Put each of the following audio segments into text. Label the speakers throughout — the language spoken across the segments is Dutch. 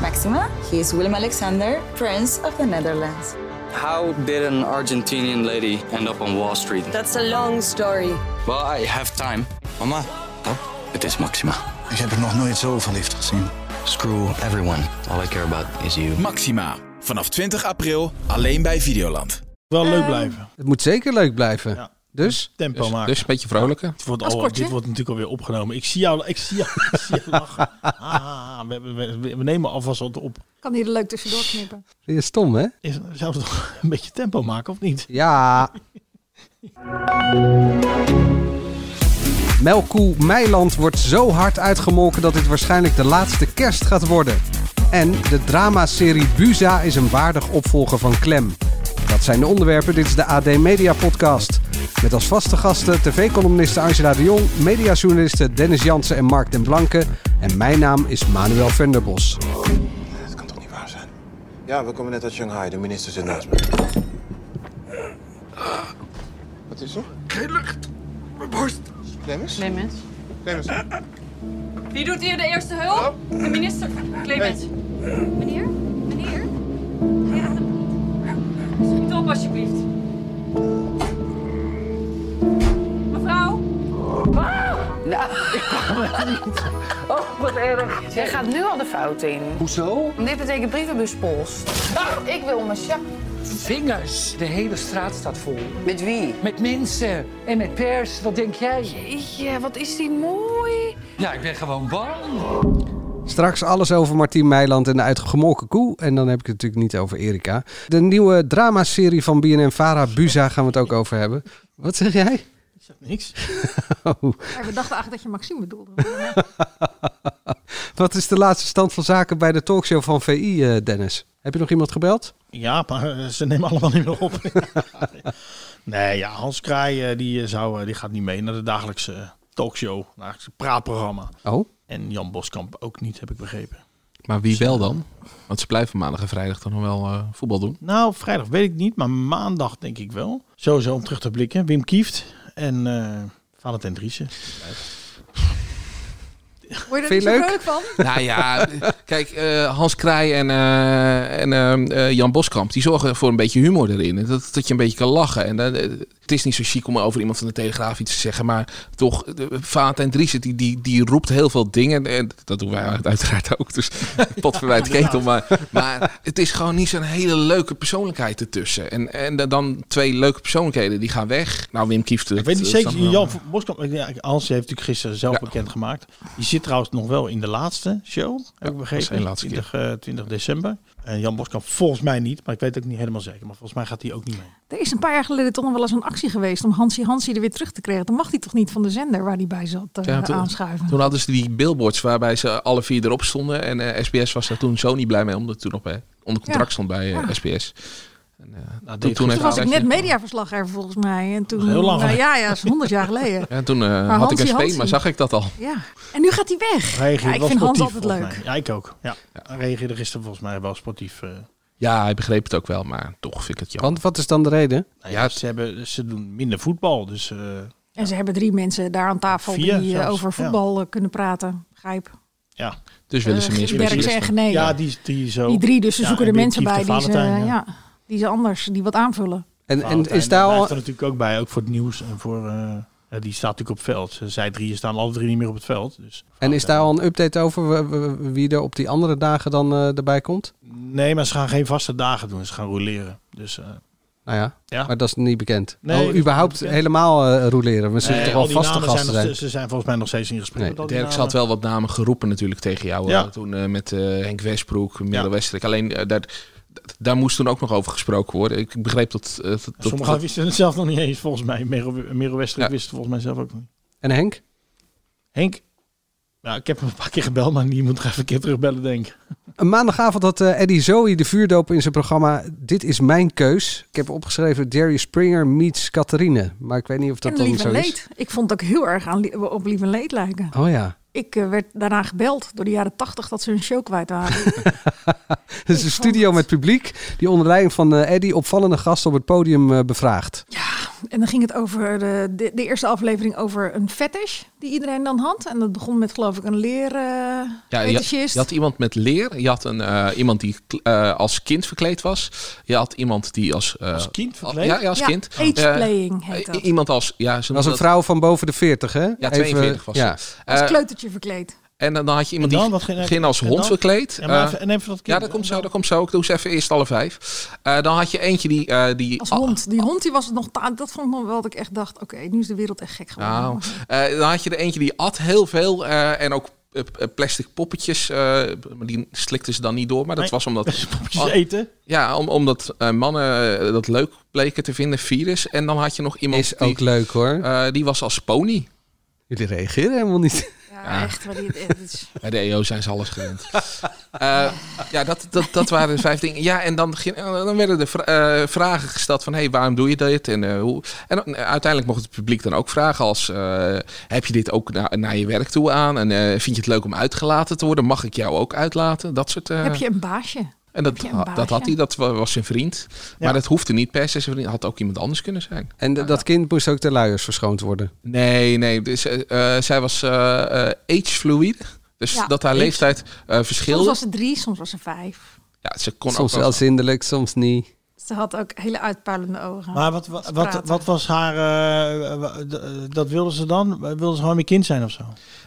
Speaker 1: Maxima. He is Willem Alexander, Prince of the Netherlands.
Speaker 2: How did an Argentinian lady end up on Wall Street?
Speaker 3: That's a long story.
Speaker 2: Well, I have time.
Speaker 4: Mama,
Speaker 2: Het is Maxima.
Speaker 5: Ik heb er nog nooit zo verliefd gezien.
Speaker 2: Screw everyone. All I care about is you.
Speaker 6: Maxima. Vanaf 20 april alleen bij Videoland.
Speaker 7: Wel leuk blijven.
Speaker 8: Het moet zeker leuk blijven.
Speaker 7: Ja.
Speaker 8: Dus?
Speaker 7: Tempo
Speaker 9: Dus,
Speaker 7: maken.
Speaker 9: dus een beetje vrolijker.
Speaker 7: Dit wordt, al,
Speaker 1: kortje.
Speaker 7: dit wordt natuurlijk alweer opgenomen. Ik zie jou, ik zie jou, ik zie jou lachen. Ah, we, we- we- we nemen alvast wat op.
Speaker 10: Kan hier leuk tussendoor knippen.
Speaker 8: Vind je stom, hè?
Speaker 7: Is zelfs toch een beetje tempo maken, of niet?
Speaker 8: Ja. Melkoe Meiland wordt zo hard uitgemolken dat dit waarschijnlijk de laatste kerst gaat worden. En de dramaserie Buza is een waardig opvolger van Klem. Dat zijn de onderwerpen. Dit is de AD Media Podcast. Met als vaste gasten tv-columniste Angela de Jong, mediajournalisten Dennis Jansen en Mark den Blanke. En mijn naam is Manuel Venderbos.
Speaker 4: dat kan toch niet waar zijn?
Speaker 5: Ja, we komen net uit Shanghai. De minister zit naast me. Wat is er? Geen lucht. Mijn borst.
Speaker 3: Clemens.
Speaker 5: Clemens? Clemens.
Speaker 3: Wie doet hier de eerste hulp? De minister. Clemens.
Speaker 10: Meneer? Meneer?
Speaker 3: Schiet op alsjeblieft. Mevrouw.
Speaker 10: Jij gaat nu al de fout in.
Speaker 9: Hoezo?
Speaker 10: Dit betekent brievenbuspost. Ik wil mijn chef.
Speaker 9: Vingers. De hele straat staat vol.
Speaker 3: Met wie?
Speaker 9: Met mensen en met pers. Wat denk jij?
Speaker 10: Jeetje, wat is die mooi.
Speaker 9: Ja, ik ben gewoon bang.
Speaker 8: Straks alles over Martien Meiland en de uitgemolken koe. En dan heb ik het natuurlijk niet over Erika. De nieuwe dramaserie van BNN-Vara, Buza, gaan we het ook over hebben. Wat zeg jij?
Speaker 7: Ik zeg niks.
Speaker 8: Oh.
Speaker 10: we dachten eigenlijk dat je Maxime bedoelde.
Speaker 8: Wat is de laatste stand van zaken bij de talkshow van VI, eh, Dennis? Heb je nog iemand gebeld?
Speaker 7: Ja, maar eh, ze nemen allemaal niet meer op. nee, ja, Hans Kraai eh, die, eh, zou, eh, die gaat niet mee naar de dagelijkse talkshow. Naar het praatprogramma.
Speaker 8: Oh,
Speaker 7: En Jan Boskamp ook niet, heb ik begrepen.
Speaker 9: Maar wie wel dan? Want ze blijven maandag en vrijdag dan nog wel eh, voetbal doen.
Speaker 7: Nou, vrijdag weet ik niet, maar maandag denk ik wel. Sowieso om terug te blikken. Wim Kieft en eh Valentijn Driessen.
Speaker 10: Word je er
Speaker 8: Vind
Speaker 10: niet
Speaker 8: je
Speaker 10: zo
Speaker 8: leuk?
Speaker 10: vrolijk van?
Speaker 9: Nou ja, kijk, eh, Hans Krij en, eh, en eh, eh, Jan Boskamp, die zorgen voor een beetje humor erin. En Dat, dat je een beetje kan lachen. En, eh, het is niet zo chic om over iemand van de Telegraaf iets te zeggen, maar toch, eh, Vaat en Dries, die, die, die roept heel veel dingen. En dat doen wij uit- uiteraard ook, dus pot verwijt ketel. Maar, maar het is gewoon niet zo'n hele leuke persoonlijkheid ertussen. En, en dan- dan twee leuke persoonlijkheden, die gaan weg. Nou, Wim Kieft...
Speaker 7: Ik weet niet zeker, Jan Boskamp, ja, Hans heeft natuurlijk gisteren zelf
Speaker 9: Ja.
Speaker 7: bekendgemaakt. Die zit trouwens nog wel in de laatste show, heb ik begrepen.
Speaker 9: zijn laatste keer.
Speaker 7: 20, eh, 20 december. En Jan Boskamp volgens mij niet, maar ik weet het ook niet helemaal zeker. Maar volgens mij gaat hij ook niet mee.
Speaker 10: Er is een paar jaar geleden toch nog wel eens een actie geweest om Hansi Hansi er weer terug te krijgen. Dan mag hij toch niet van de zender waar hij bij zat eh,
Speaker 9: Ja, toen-
Speaker 10: aanschuiven.
Speaker 9: Toen hadden ze die billboards waarbij ze alle vier erop stonden. En eh, SBS was daar toen zo niet blij mee, omdat het toen nog bij, onder contract
Speaker 10: Ja.
Speaker 9: stond bij eh,
Speaker 10: Ja.
Speaker 9: SBS. En, eh,
Speaker 7: Nou,
Speaker 9: toen,
Speaker 7: deed
Speaker 9: toen heeft
Speaker 7: het
Speaker 10: Toen was ik
Speaker 9: Alex-
Speaker 10: net mediaverslaggever volgens mij. En toen,
Speaker 7: Heel lang
Speaker 10: nou,
Speaker 7: geleden.
Speaker 10: ja, ja, zo'n honderd jaar geleden.
Speaker 9: Ja, toen eh, had
Speaker 10: Hansie,
Speaker 9: ik een speen,
Speaker 10: Hansie.
Speaker 9: maar zag ik dat al.
Speaker 10: Ja. En nu gaat hij weg.
Speaker 7: Reageerde
Speaker 10: Ja, ik
Speaker 7: wel
Speaker 10: vind Hans
Speaker 7: sportief,
Speaker 10: altijd
Speaker 7: volgens
Speaker 10: leuk.
Speaker 7: mij. Ja, ik ook. Ja. Hij reageerde gisteren volgens mij wel sportief. eh.
Speaker 9: Ja, hij begreep het ook wel, maar toch vind ik het jammer.
Speaker 8: want wat is dan de reden?
Speaker 7: Nou ja, ze, hebben, ze doen minder voetbal, dus... eh,
Speaker 10: En ze hebben drie mensen daar aan tafel
Speaker 7: Vier
Speaker 10: die eh,
Speaker 7: zelfs,
Speaker 10: over
Speaker 7: ja.
Speaker 10: voetbal eh, kunnen praten. Grijp.
Speaker 7: ja.
Speaker 9: Dus willen ze
Speaker 10: Eh,
Speaker 9: meer
Speaker 10: Gisbergen en
Speaker 9: specialisten.
Speaker 10: Genee.
Speaker 7: ja, die, die zo...
Speaker 10: die drie, dus ze
Speaker 7: Ja,
Speaker 10: zoeken
Speaker 7: en
Speaker 10: er mensen bij
Speaker 7: Wim
Speaker 10: die
Speaker 7: Kieft
Speaker 10: ze,
Speaker 7: en Valentijn, ja.
Speaker 10: ja, die ze anders, die wat aanvullen.
Speaker 8: En, en
Speaker 7: Valentijn,
Speaker 8: is daar
Speaker 7: blijft
Speaker 8: al...
Speaker 7: er natuurlijk ook bij, ook voor het nieuws en voor... eh, ja, die staat natuurlijk op het veld. Zij drieën staan alle drie niet meer op het veld. Dus
Speaker 8: En is daar al een update over w- w- wie er op die andere dagen dan eh, erbij komt?
Speaker 7: Nee, maar ze gaan geen vaste dagen doen. Ze gaan roleren. Dus eh,
Speaker 8: Nou ja,
Speaker 7: Ja.
Speaker 8: maar dat is niet bekend.
Speaker 7: Nee,
Speaker 8: oh,
Speaker 7: dat is
Speaker 8: überhaupt
Speaker 7: niet bekend.
Speaker 8: helemaal eh, roleren. We zullen
Speaker 7: nee,
Speaker 8: toch
Speaker 7: al
Speaker 8: wel
Speaker 7: die
Speaker 8: vaste
Speaker 7: namen
Speaker 8: gasten
Speaker 7: zijn, nog-
Speaker 8: zijn.
Speaker 7: Ze zijn volgens mij nog steeds in gesprek.
Speaker 8: Nee,
Speaker 7: met al die
Speaker 9: Dirk
Speaker 7: namen.
Speaker 9: had wel wat namen geroepen natuurlijk tegen jou. eh,
Speaker 7: Ja.
Speaker 9: toen eh, met eh, Henk Westbroek, Merel
Speaker 7: Ja.
Speaker 9: Westrik. Alleen eh, daar, d- daar moest toen ook nog over gesproken worden. Ik begreep dat... eh, dat, dat-
Speaker 7: Sommigen wisten het zelf nog niet eens, volgens mij. Merel, Merel Westrik
Speaker 9: Ja.
Speaker 7: wist het volgens mij zelf ook niet.
Speaker 8: En Henk?
Speaker 7: Henk? Nou, ik heb hem een paar keer gebeld, maar die moet nog even een keer terugbellen, denk ik.
Speaker 8: Een maandagavond had eh Eddie Zoe de vuurdoop in zijn programma Dit is mijn keus. Ik heb opgeschreven Jerry Springer meets Catherine. Maar ik weet niet of dat
Speaker 10: en
Speaker 8: dan
Speaker 10: Lief
Speaker 8: zo
Speaker 10: en
Speaker 8: is.
Speaker 10: Leed. Ik vond het ook heel erg aan, Lie- op Lief en Leed lijken.
Speaker 8: Oh ja.
Speaker 10: Ik eh, werd daarna gebeld door de jaren tachtig dat ze hun show kwijt waren.
Speaker 8: Het is
Speaker 10: Ik
Speaker 8: een
Speaker 10: vond
Speaker 8: studio
Speaker 10: het-
Speaker 8: met publiek die onder leiding van eh Eddie opvallende gasten op het podium eh, bevraagt.
Speaker 10: ja, En dan ging het over de, de, de eerste aflevering over een fetish die iedereen dan had. En dat begon met geloof ik een leer eh,
Speaker 9: Ja, je, je
Speaker 10: fetishist.
Speaker 9: had iemand met leer. Je had een, eh, iemand die eh, als kind verkleed was. Je had iemand die als... eh,
Speaker 7: Als kind
Speaker 9: al-
Speaker 7: verkleed?
Speaker 9: Ja, ja, als
Speaker 10: Ja,
Speaker 9: kind. Eh,
Speaker 10: Ageplaying heet
Speaker 9: i-
Speaker 10: dat.
Speaker 9: iemand als... Ja, ze
Speaker 8: Dat was een
Speaker 9: noemden
Speaker 8: vrouw van boven de 40, hè?
Speaker 9: Ja,
Speaker 8: Even-
Speaker 9: 42 was ze.
Speaker 8: ja.
Speaker 9: dat-
Speaker 10: Als
Speaker 9: eh,
Speaker 10: kleutertje verkleed.
Speaker 9: En dan had je iemand
Speaker 7: En dan?
Speaker 9: die
Speaker 7: Wat ging er-
Speaker 9: ging als
Speaker 7: en
Speaker 9: hond
Speaker 7: dan?
Speaker 9: verkleed.
Speaker 7: Ja, maar
Speaker 9: Eh,
Speaker 7: even, en even dat kind.
Speaker 9: ja, dat komt zo, dat komt zo. Ik doe ze even eerst alle vijf. Eh, dan had je eentje die... eh, die
Speaker 10: Als
Speaker 9: ah,
Speaker 10: hond. Die hond die was nog... ta- Dat vond ik nog wel dat ik echt dacht, oké, nu is de wereld echt gek geworden.
Speaker 9: Nou, eh, dan had je er eentje die at heel veel eh, en ook eh, p- eh, plastic poppetjes. eh, maar die slikte ze dan niet door. Maar dat
Speaker 7: Nee.
Speaker 9: was omdat,
Speaker 7: Poppetjes eten.
Speaker 9: ja, om, omdat eh, mannen eh, dat leuk bleken te vinden, virus. En dan had je nog iemand
Speaker 8: Is
Speaker 9: die,
Speaker 8: ook leuk, hoor.
Speaker 9: eh, die was als pony.
Speaker 8: Jullie reageren helemaal niet.
Speaker 10: ja,
Speaker 9: ja.
Speaker 10: echt. Maar die, het is-
Speaker 9: Bij de EO zijn ze alles gewend. Eh, ja, dat, dat, dat waren de vijf dingen. Ja, en dan, ging- eh, dan werden er vra- eh, vragen gesteld van... hé, hey, waarom doe je dit? En, eh, hoe? en dan, eh, uiteindelijk mocht het publiek dan ook vragen als... eh, heb je dit ook na- naar je werk toe aan? En eh, vind je het leuk om uitgelaten te worden? Mag ik jou ook uitlaten? Dat soort... eh,
Speaker 10: Heb je een baasje?
Speaker 9: en dat,
Speaker 10: heb je een
Speaker 9: dat had
Speaker 10: baasje?
Speaker 9: hij, dat wa- was zijn vriend. Maar dat hoefde niet per se zijn vriend. Had ook iemand anders kunnen zijn.
Speaker 8: En d- dat kind moest ook ter luiers verschoond worden.
Speaker 9: Nee, nee. Dus, eh, eh, zij was eh, eh, age-fluide. Dus
Speaker 10: Ja.
Speaker 9: dat haar leeftijd eh
Speaker 10: Soms
Speaker 9: verschilde.
Speaker 10: was ze drie, soms was ze vijf.
Speaker 9: Ja, ze kon
Speaker 8: Soms
Speaker 9: ook wel
Speaker 8: wel zindelijk, soms niet.
Speaker 10: Ze had ook hele uitpuilende ogen.
Speaker 7: Maar wat, wat, wat,
Speaker 10: praten.
Speaker 7: wat was haar... eh, wa- d- dat wilde ze dan? Wilde ze gewoon meer kind zijn of zo?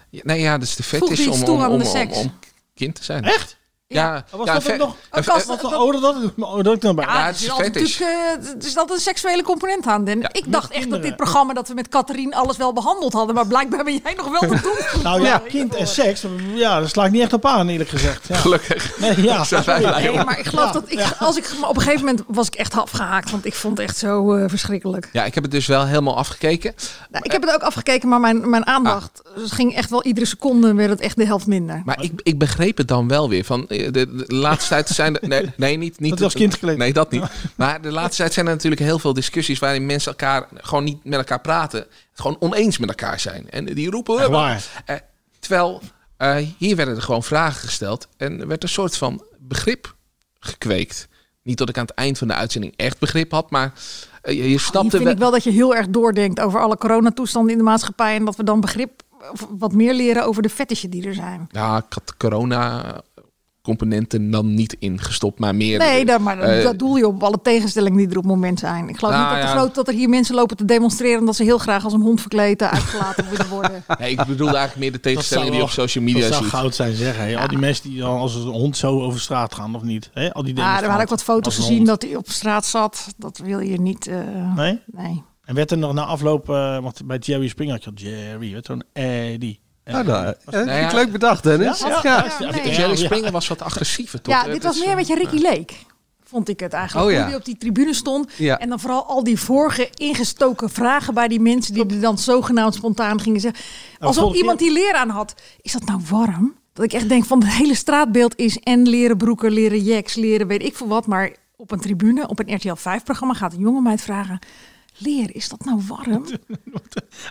Speaker 9: Ja, Nee, ja, dus de vet
Speaker 10: Voegt
Speaker 9: is
Speaker 10: iets
Speaker 9: om,
Speaker 10: toe
Speaker 9: om,
Speaker 10: aan
Speaker 9: om,
Speaker 10: de
Speaker 9: om,
Speaker 10: seks.
Speaker 9: om kind te zijn.
Speaker 7: Echt?
Speaker 9: Ja,
Speaker 7: Was
Speaker 9: ja,
Speaker 7: dat
Speaker 9: vet-
Speaker 7: ook nog...
Speaker 9: eh,
Speaker 10: Ook als-
Speaker 9: vet-
Speaker 7: Wat, oh, dat, dat, oh, dat ik dan bij.
Speaker 10: Ja,
Speaker 9: Ja,
Speaker 10: het
Speaker 9: het is
Speaker 10: is altijd
Speaker 9: fetish.
Speaker 10: Ah, natuurlijk, eh, er is altijd een seksuele component aan. Den. ik dacht echt dat
Speaker 7: kinderen.
Speaker 10: dit programma dat we met Catherine alles wel behandeld hadden, maar blijkbaar ben jij nog wel verdoemd.
Speaker 7: nou ja, kind en seks, ja, daar sla ik niet echt op aan, eerlijk gezegd. Ja.
Speaker 9: Gelukkig.
Speaker 7: Nee, ja.
Speaker 9: Zijn wij blij om.
Speaker 10: Nee, maar ik geloof dat ik, als ik maar op een gegeven moment was ik echt afgehaakt, want ik vond het echt zo eh, verschrikkelijk.
Speaker 9: Ja, ik heb het dus wel helemaal afgekeken.
Speaker 10: Nou, ik heb het ook afgekeken, maar mijn, mijn aandacht het ging echt wel iedere seconde werd het echt de helft minder.
Speaker 9: Maar ik, ik begreep het dan wel weer. Van eh, de, de laatste tijd zijn er. Nee, nee niet, niet.
Speaker 7: Dat was kindgekleed.
Speaker 9: Nee, dat niet. Maar de laatste tijd zijn er natuurlijk heel veel discussies waarin mensen elkaar gewoon niet met elkaar praten. Het gewoon oneens met elkaar zijn. En die roepen.
Speaker 7: Echt waar.
Speaker 9: Eh, terwijl eh, hier werden er gewoon vragen gesteld en er werd een soort van begrip gekweekt. Niet dat ik aan het eind van de uitzending echt begrip had, maar eh, je, je
Speaker 10: Ah, Hier
Speaker 9: snapte
Speaker 10: vind
Speaker 9: wel.
Speaker 10: ik wel dat je heel erg doordenkt over alle coronatoestanden in de maatschappij en dat we dan begrip of wat meer leren over de fetishen die er zijn.
Speaker 9: Ja, ik had corona-componenten dan niet ingestopt, maar meer.
Speaker 10: Nee, daar, maar
Speaker 9: eh,
Speaker 10: dat doel je op alle tegenstellingen die er op het moment zijn. Ik geloof
Speaker 9: Nou,
Speaker 10: niet dat,
Speaker 9: ja.
Speaker 10: de groot, dat er hier mensen lopen te demonstreren dat ze heel graag als een hond verkleed eh, uitgelaten willen worden.
Speaker 9: nee, ik bedoelde eigenlijk meer de tegenstellingen die je op social media
Speaker 7: Dat zou
Speaker 9: ziet.
Speaker 7: goud zijn, zeg. hè. Al die mensen die dan als een hond zo over straat gaan, of niet? Hè? Al die
Speaker 10: Ja, er waren ook
Speaker 7: demonstranten
Speaker 10: wat foto's
Speaker 7: als een
Speaker 10: gezien
Speaker 7: hond.
Speaker 10: dat hij op straat zat. Dat wil je niet. eh,
Speaker 7: Nee?
Speaker 10: nee.
Speaker 7: En werd er nog na afloop, eh, want bij Jerry Springer had je al Jerry, werd zo'n Eddie.
Speaker 8: Nou, nou, eh, vind
Speaker 9: ja.
Speaker 8: ik leuk bedacht, Dennis.
Speaker 7: Ja?
Speaker 8: Ja.
Speaker 10: Ja,
Speaker 7: Ja,
Speaker 10: nee.
Speaker 7: ja.
Speaker 9: Jerry Springer was wat agressiever, toch?
Speaker 10: Ja,
Speaker 9: Eh,
Speaker 10: dit
Speaker 9: dat
Speaker 10: was
Speaker 9: is,
Speaker 10: meer
Speaker 9: eh,
Speaker 10: wat je Ricky leek. Vond ik het eigenlijk.
Speaker 8: Oh,
Speaker 10: Hoe
Speaker 8: ja.
Speaker 10: die op die tribune stond.
Speaker 8: Ja.
Speaker 10: En dan vooral al die vorige ingestoken vragen bij die mensen die er dan zogenaamd spontaan gingen zeggen. Alsof
Speaker 7: vorige
Speaker 10: iemand die leer aan had. Is dat nou warm? Dat ik echt denk van het hele straatbeeld is en leren broeken, leren jacks, leren weet ik veel wat. Maar op een tribune, op een RTL 5 programma gaat een jonge meid vragen. Leer, is dat nou warm?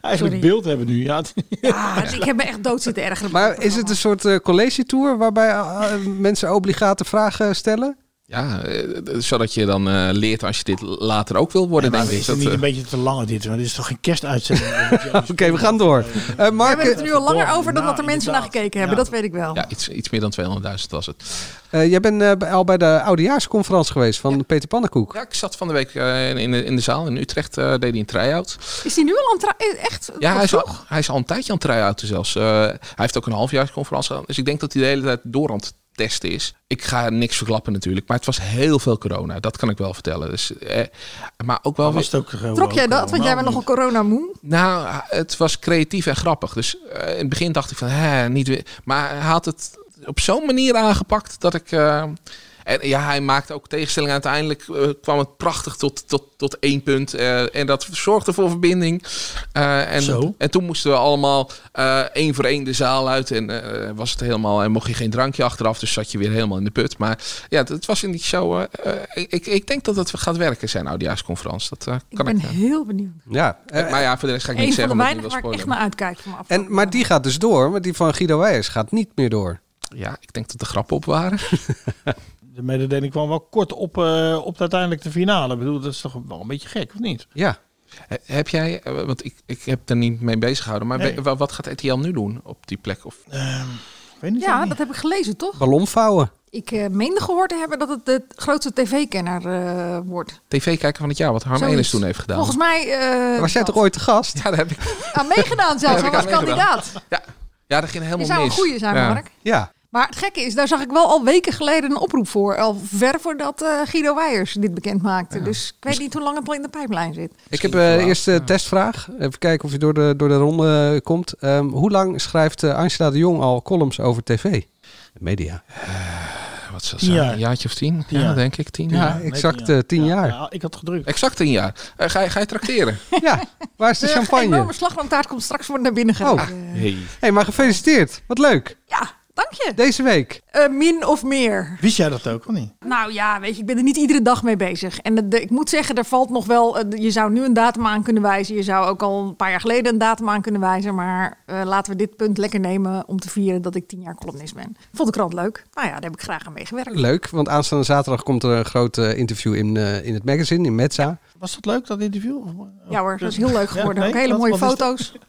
Speaker 7: Eigenlijk
Speaker 10: Sorry.
Speaker 7: beeld hebben nu, ja.
Speaker 10: Ja, dus ik heb me echt dood zitten ergeren.
Speaker 8: Maar is het een soort eh, college-tour waarbij eh, mensen obligate vragen stellen?
Speaker 9: Ja, eh, d- zodat je dan eh, leert als je dit later ook wil worden,
Speaker 7: Maar
Speaker 9: denk ik.
Speaker 7: is het niet
Speaker 9: eh,
Speaker 7: een beetje te lang dit? Want dit is toch geen kerstuitzending?
Speaker 8: Oké, we gaan door. Eh,
Speaker 10: We
Speaker 8: Mark,
Speaker 10: hebben het er nu al langer
Speaker 7: Verdomme,
Speaker 10: over dan
Speaker 7: nou,
Speaker 10: dat er mensen naar
Speaker 7: inderdaad.
Speaker 10: gekeken hebben.
Speaker 7: Ja.
Speaker 10: Dat weet ik wel.
Speaker 9: ja, iets, iets meer dan 200.000 was het.
Speaker 8: eh, jij bent eh, bij- al bij de oudejaarsconferentie geweest van Peter Pannenkoek.
Speaker 9: Ja, ik zat van de week eh, in, de, in de zaal in Utrecht, eh, deed hij een try-out.
Speaker 10: Is die nu al aan het tra- eh, Echt?
Speaker 9: Ja,
Speaker 10: Wat
Speaker 9: hij is, al,
Speaker 10: vroeg?
Speaker 9: hij is al een tijdje aan het try-outen zelfs. Eh, hij heeft ook een halfjaarsconferentie gedaan, dus ik denk dat hij de hele tijd door aan het testen is. Ik ga niks verklappen natuurlijk, maar het was heel veel corona, dat kan ik wel vertellen. Dus, eh, maar ook wel...
Speaker 7: Was
Speaker 9: weer-
Speaker 7: het ook gewoon
Speaker 10: Trok jij
Speaker 7: ook
Speaker 9: eh,
Speaker 10: dat? Want jij bent
Speaker 7: allemaal
Speaker 10: nogal corona moe.
Speaker 9: nou, het was creatief en grappig. Dus eh, in het begin dacht ik van, hè, niet weer. Maar hij had het op zo'n manier aangepakt dat ik... eh, en ja, hij maakte ook tegenstellingen. Uiteindelijk eh, kwam het prachtig tot, tot, tot één punt. eh, en dat zorgde voor verbinding. Eh, en,
Speaker 7: Zo.
Speaker 9: en toen moesten we allemaal eh, één voor één de zaal uit. En eh, was het helemaal. En mocht je geen drankje achteraf. Dus zat je weer helemaal in de put. Maar ja, het- het was in die show. eh, eh, ik- ik, ik denk dat het gaat werken, zijn oudejaarsconferentie. Dat eh,
Speaker 10: Ik
Speaker 9: kan
Speaker 10: ben
Speaker 9: ik. eh,
Speaker 10: heel benieuwd.
Speaker 8: Ja. eh,
Speaker 9: maar ja, voor de rest ga ik
Speaker 10: Een
Speaker 9: niks
Speaker 10: van de
Speaker 9: zeggen. omdat
Speaker 10: weinigen
Speaker 9: het
Speaker 10: waar ik
Speaker 9: wil
Speaker 10: echt naar uitkijk van af.
Speaker 8: en, maar die gaat dus door, maar die van Guido Weijers gaat niet meer door.
Speaker 9: spoileren. Ja, ik denk dat de grappen op waren.
Speaker 7: De mededeling kwam wel kort op, eh, op uiteindelijk de finale. Ik bedoel, dat is toch wel een beetje gek, of niet?
Speaker 8: Ja.
Speaker 9: He- Heb jij, eh, want ik, ik heb er niet mee bezig gehouden, maar
Speaker 7: Nee.
Speaker 9: we- wa- wat gaat RTL nu doen op die plek? Of,
Speaker 7: Ik Weet niet
Speaker 10: Ja,
Speaker 7: of
Speaker 10: dat
Speaker 7: niet.
Speaker 10: heb ik gelezen, toch?
Speaker 8: Ballon vouwen.
Speaker 10: Ik eh, meende gehoord te hebben dat het de grootste tv-kenner eh, wordt.
Speaker 9: TV-kijker van het jaar, wat Harm
Speaker 10: Zoiets.
Speaker 9: Elis toen heeft gedaan.
Speaker 10: Volgens mij... eh,
Speaker 8: Was jij
Speaker 10: dat.
Speaker 8: toch ooit te gast?
Speaker 9: Ja, daar heb ik.
Speaker 10: Aan meegedaan zelfs,
Speaker 9: Heb
Speaker 10: hij
Speaker 9: ik
Speaker 10: was
Speaker 9: aan meegedaan.
Speaker 10: kandidaat.
Speaker 9: Ja, dat ging helemaal
Speaker 10: Je
Speaker 9: mis.
Speaker 10: zou een goede zijn,
Speaker 9: Ja.
Speaker 10: Mark.
Speaker 8: Ja.
Speaker 10: Maar het gekke is, daar zag ik wel al weken geleden een oproep voor. Al ver voordat eh, Guido Weijers dit bekend maakte. Dus ik weet niet hoe lang het al in de pijplijn zit.
Speaker 8: Ik heb eh, eerst de testvraag. Even kijken of je door de, door de ronde eh, komt. Ehm, hoe lang schrijft eh, Angela de Jong al columns over tv? Media.
Speaker 9: Wat zou
Speaker 7: Tien
Speaker 9: het zijn?
Speaker 7: jaar.
Speaker 9: Een jaartje of tien?
Speaker 7: Tien
Speaker 9: ja,
Speaker 7: jaar.
Speaker 9: denk ik. Tien
Speaker 7: Tien
Speaker 9: jaar.
Speaker 7: jaar. Nee,
Speaker 8: exact,
Speaker 7: tien jaar.
Speaker 8: eh, tien
Speaker 7: Ja,
Speaker 8: jaar.
Speaker 7: ja, ik had gedrukt.
Speaker 9: Exact tien jaar. Eh, ga, je- ga je trakteren?
Speaker 8: Ja, waar is de
Speaker 10: De
Speaker 8: champagne?
Speaker 10: enorme slagroomtaart komt straks voor naar binnen
Speaker 8: Oh,
Speaker 10: gereden.
Speaker 9: Hey.
Speaker 8: hey, maar gefeliciteerd. Wat leuk.
Speaker 10: Ja, dank je.
Speaker 8: Deze week.
Speaker 10: Eh, min of meer.
Speaker 7: Wist jij dat ook of niet?
Speaker 10: Nou ja, weet je, ik ben er niet iedere dag mee bezig. En het- de- ik moet zeggen, er valt nog wel. eh, je zou nu een datum aan kunnen wijzen. Je zou ook al een paar jaar geleden een datum aan kunnen wijzen. Maar eh, laten we dit punt lekker nemen om te vieren dat ik tien jaar columnist ben. Vond de krant leuk. Nou ja, daar heb ik graag aan meegewerkt.
Speaker 8: Leuk, want aanstaande zaterdag komt er een groot eh, interview in, eh, in het magazine, in Metza.
Speaker 7: Was dat leuk, dat interview? Of- eh,
Speaker 10: Ja hoor,
Speaker 7: of-
Speaker 10: dat is heel leuk
Speaker 7: Ja,
Speaker 10: geworden.
Speaker 7: nee,
Speaker 10: ook hele
Speaker 7: wat-
Speaker 10: mooie
Speaker 7: wat is dat?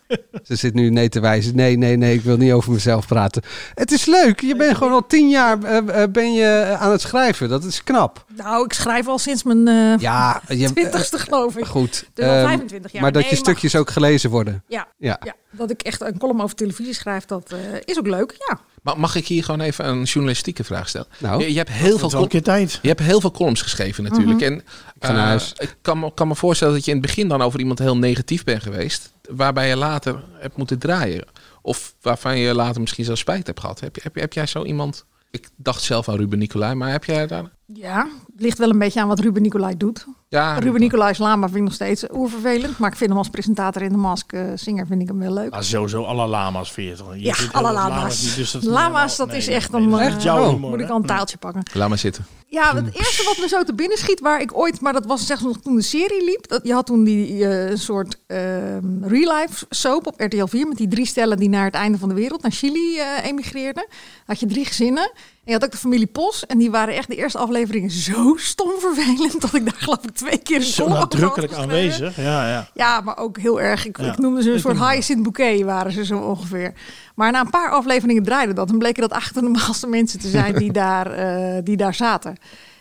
Speaker 10: foto's.
Speaker 8: Ze zit nu nee te wijzen. Nee, nee, nee, ik wil niet over mezelf praten. Het is leuk. Je bent gewoon al tien jaar eh, eh, ben je aan het schrijven. Dat is knap.
Speaker 10: Nou, ik schrijf al sinds mijn eh
Speaker 8: Ja, je,
Speaker 10: twintigste, geloof ik.
Speaker 8: Goed.
Speaker 10: Dus al
Speaker 8: ehm,
Speaker 10: 25 jaar.
Speaker 8: Maar dat
Speaker 10: Nee,
Speaker 8: je
Speaker 10: maar
Speaker 8: stukjes ook gelezen worden.
Speaker 10: Ja,
Speaker 8: Ja.
Speaker 10: ja, dat ik echt een column over televisie schrijf, dat eh, is ook leuk. Ja.
Speaker 9: Maar mag ik hier gewoon even een journalistieke vraag stellen?
Speaker 8: Nou.
Speaker 9: je, je hebt heel veel
Speaker 7: Dat is wel een
Speaker 9: col-
Speaker 7: keer tijd.
Speaker 9: je hebt heel veel columns geschreven natuurlijk.
Speaker 10: Mhm.
Speaker 9: En
Speaker 8: ga naar
Speaker 9: eh,
Speaker 8: huis.
Speaker 9: ik kan, me- kan me voorstellen dat je in het begin dan over iemand heel negatief bent geweest. Waarbij je later hebt moeten draaien. Of waarvan je later misschien zelfs spijt hebt gehad. Heb, je- heb, je- heb jij zo iemand... Ik dacht zelf aan Ruben Nicolai, maar heb jij daar...
Speaker 10: Ja, het ligt wel een beetje aan wat Ruben Nicolai doet.
Speaker 9: Ja,
Speaker 10: Ruben Nicolai Lama vind ik nog steeds oervervelend. Maar ik vind hem als presentator in de mask, eh zinger, vind ik hem wel leuk.
Speaker 7: Maar sowieso alle lama's 40. Je
Speaker 10: Ja,
Speaker 7: vindt
Speaker 10: alle
Speaker 7: helemaal
Speaker 10: lama's.
Speaker 7: niet, dus dat is
Speaker 10: Lama's,
Speaker 7: helemaal-
Speaker 10: dat is echt
Speaker 7: nee,
Speaker 10: een,
Speaker 7: dat is
Speaker 10: eh,
Speaker 7: jouw
Speaker 8: oh,
Speaker 7: humor,
Speaker 10: Moet
Speaker 7: hè?
Speaker 10: ik
Speaker 7: Mm.
Speaker 10: al een taaltje pakken.
Speaker 9: Laat maar zitten.
Speaker 10: Ja, het eerste wat me zo te binnen schiet, waar ik ooit, maar dat was zelfs nog toen de serie liep. Dat, je had toen die eh, soort ehm real life soap op RTL 4 met die drie stellen die naar het einde van de wereld, naar Chili eh, emigreerden. Had je drie gezinnen. En je had ook de familie Pos. En die waren echt de eerste afleveringen zo stom vervelend dat ik daar geloof ik twee keer een
Speaker 7: Zo
Speaker 10: column over had
Speaker 7: nadrukkelijk
Speaker 10: geschreven.
Speaker 7: aanwezig. Ja, ja.
Speaker 10: Ja, maar ook heel erg. Ik,
Speaker 7: Ja,
Speaker 10: ik noemde ze een
Speaker 7: ik
Speaker 10: soort
Speaker 7: noem het.
Speaker 10: hyacinth bouquet, waren ze zo ongeveer. Maar na een paar afleveringen draaide dat. En bleken dat echt de normaalste mensen te zijn die, daar, eh, die daar zaten.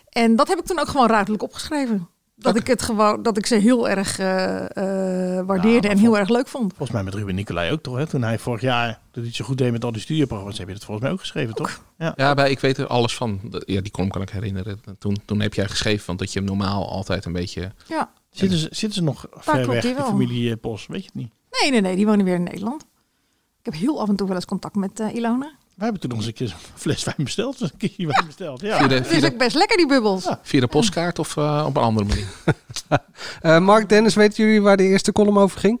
Speaker 10: En dat heb ik toen ook gewoon ruidelijk opgeschreven. Dat, ik, het gewoon, dat ik ze heel erg eh, eh, waardeerde en heel erg leuk vond.
Speaker 7: Volgens mij met Ruben Nicolai ook toch, hè? Toen hij vorig jaar dat hij het zo goed deed met al die studioprogramma's, heb je dat volgens mij ook geschreven, toch? Ja.
Speaker 9: Ja, bij, ik weet er alles van. De- Ja, die column kan ik herinneren. Toen, toen heb jij geschreven, want dat je hem normaal altijd een beetje...
Speaker 10: Ja.
Speaker 7: Zitten, ze, zitten ze nog ver
Speaker 10: klopt
Speaker 7: weg,
Speaker 10: hij
Speaker 7: die
Speaker 10: wel.
Speaker 7: familie eh, Pos? Weet je het niet?
Speaker 10: Nee, nee, nee, die wonen weer in Nederland. Ik heb heel af en toe wel eens contact met eh Ilona.
Speaker 7: Wij hebben toen nog eens een keer een fles wijn besteld. dus Een keer wijn besteld, ja.
Speaker 9: Via de,
Speaker 10: Dat is
Speaker 9: via
Speaker 10: ook
Speaker 9: de,
Speaker 10: best lekker, die bubbels.
Speaker 9: via de postkaart of eh, op een andere manier.
Speaker 8: Eh, Mark Dennis, weten jullie waar de eerste column over ging?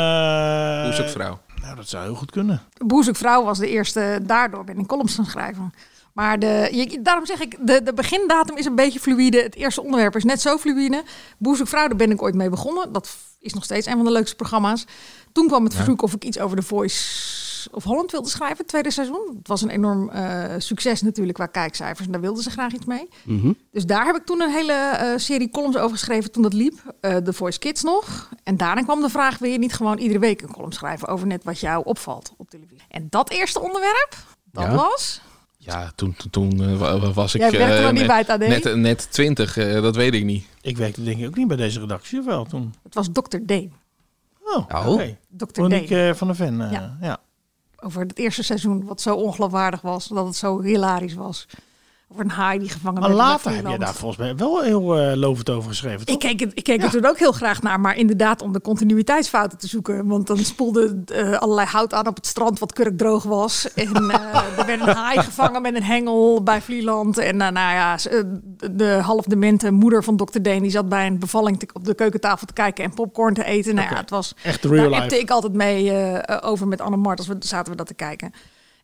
Speaker 7: Eh,
Speaker 9: Hoe is het vrouw?
Speaker 7: Nou, dat zou heel goed kunnen.
Speaker 10: Boezek Vrouw was de eerste, daardoor ben ik columns gaan schrijven. Maar de, je- daarom zeg ik, de, de begindatum is een beetje fluïde. Het eerste onderwerp is net zo fluïde. Boezek Vrouw, daar ben ik ooit mee begonnen. Dat is nog steeds een van de leukste programma's. Toen kwam het verzoek of ik iets over de Voice of Holland wilde schrijven, het tweede seizoen. Het was een enorm eh, succes natuurlijk qua kijkcijfers. En daar wilden ze graag iets mee. Dus daar heb ik toen een hele eh, serie columns over geschreven toen dat liep. Eh The Voice Kids nog. En daarna kwam de vraag, wil je niet gewoon iedere week een column schrijven over net wat jou opvalt op televisie? En dat eerste onderwerp, dat
Speaker 8: Ja.
Speaker 10: was...
Speaker 9: Ja, toen, toen, toen eh, wa- wa- was ik
Speaker 10: Jij werkte
Speaker 9: eh,
Speaker 10: nog niet bij het AD?
Speaker 9: net, net, net 20, eh, dat weet ik niet.
Speaker 7: Ik werkte denk ik ook niet bij deze redactie, of wel toen.
Speaker 10: Het was Dr. D.
Speaker 7: Oh, oké.
Speaker 8: Nou.
Speaker 10: Dr. D.
Speaker 7: Monique eh, van der Ven. eh,
Speaker 10: Ja.
Speaker 7: ja.
Speaker 10: Over het eerste seizoen, wat zo ongeloofwaardig was. Dat het zo hilarisch was. Over een haai die gevangen
Speaker 7: Maar
Speaker 10: werd. in
Speaker 7: later heb je
Speaker 10: Friesland.
Speaker 7: daar volgens mij wel heel eh, lovend over geschreven, toch?
Speaker 10: Ik keek, het- ik keek er toen ook heel graag naar, maar inderdaad om de continuïteitsfouten te zoeken. Want dan spoelde eh, allerlei hout aan op het strand wat kurkdroog was. En eh, er werd een haai gevangen met een hengel bij Vlieland. En nou, nou ja, ze- eh, de- de half demente moeder van Dr. Deen die zat bij een bevalling te- op de keukentafel te kijken en popcorn te eten. Nou ja, het was,
Speaker 7: Echt real
Speaker 10: daar appte
Speaker 7: life.
Speaker 10: ik altijd mee eh, eh, over met Anne-Mart als we zaten we dat te kijken.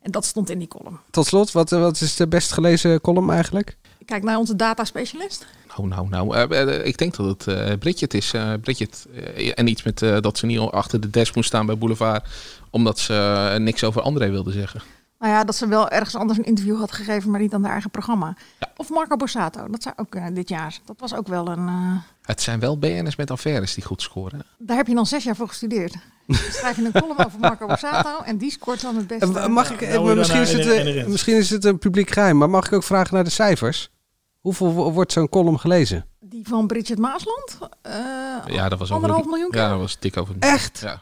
Speaker 10: En dat stond in die column.
Speaker 8: Tot slot, wat, eh, wat is de best gelezen column eigenlijk?
Speaker 10: Ik Kijk naar onze data specialist.
Speaker 9: Nou, nou, nou. Eh, eh, ik denk dat het eh Bridget is. eh, Bridget. eh, en iets met eh, dat ze niet achter de desk moest staan bij Boulevard. Omdat ze eh, niks over André wilde zeggen.
Speaker 10: Nou ja, dat ze wel ergens anders een interview had gegeven, maar niet aan haar eigen programma. Of Marco Borsato, dat zou ook eh, dit jaar. Dat was ook wel een. eh,
Speaker 9: Het zijn wel BN'ers met affaires die goed scoren.
Speaker 10: daar heb je dan zes jaar voor gestudeerd. Dan schrijf je een column over Marco Borsato en die scoort dan het beste.
Speaker 8: Eh, Mag ik,
Speaker 7: Nou,
Speaker 8: eh,
Speaker 7: nou weer
Speaker 8: misschien,
Speaker 7: naar
Speaker 8: is het,
Speaker 7: in de- in
Speaker 8: eh,
Speaker 7: de rit.
Speaker 8: misschien is het een publiek geheim, maar mag ik ook vragen naar de cijfers? Hoeveel wo- wordt zo'n column gelezen?
Speaker 10: Die van Bridget Maasland. eh,
Speaker 9: Ja, dat was over-
Speaker 10: Anderhalf miljoen keer?
Speaker 9: Ja, dat was dik over.
Speaker 8: Echt?
Speaker 9: Ja.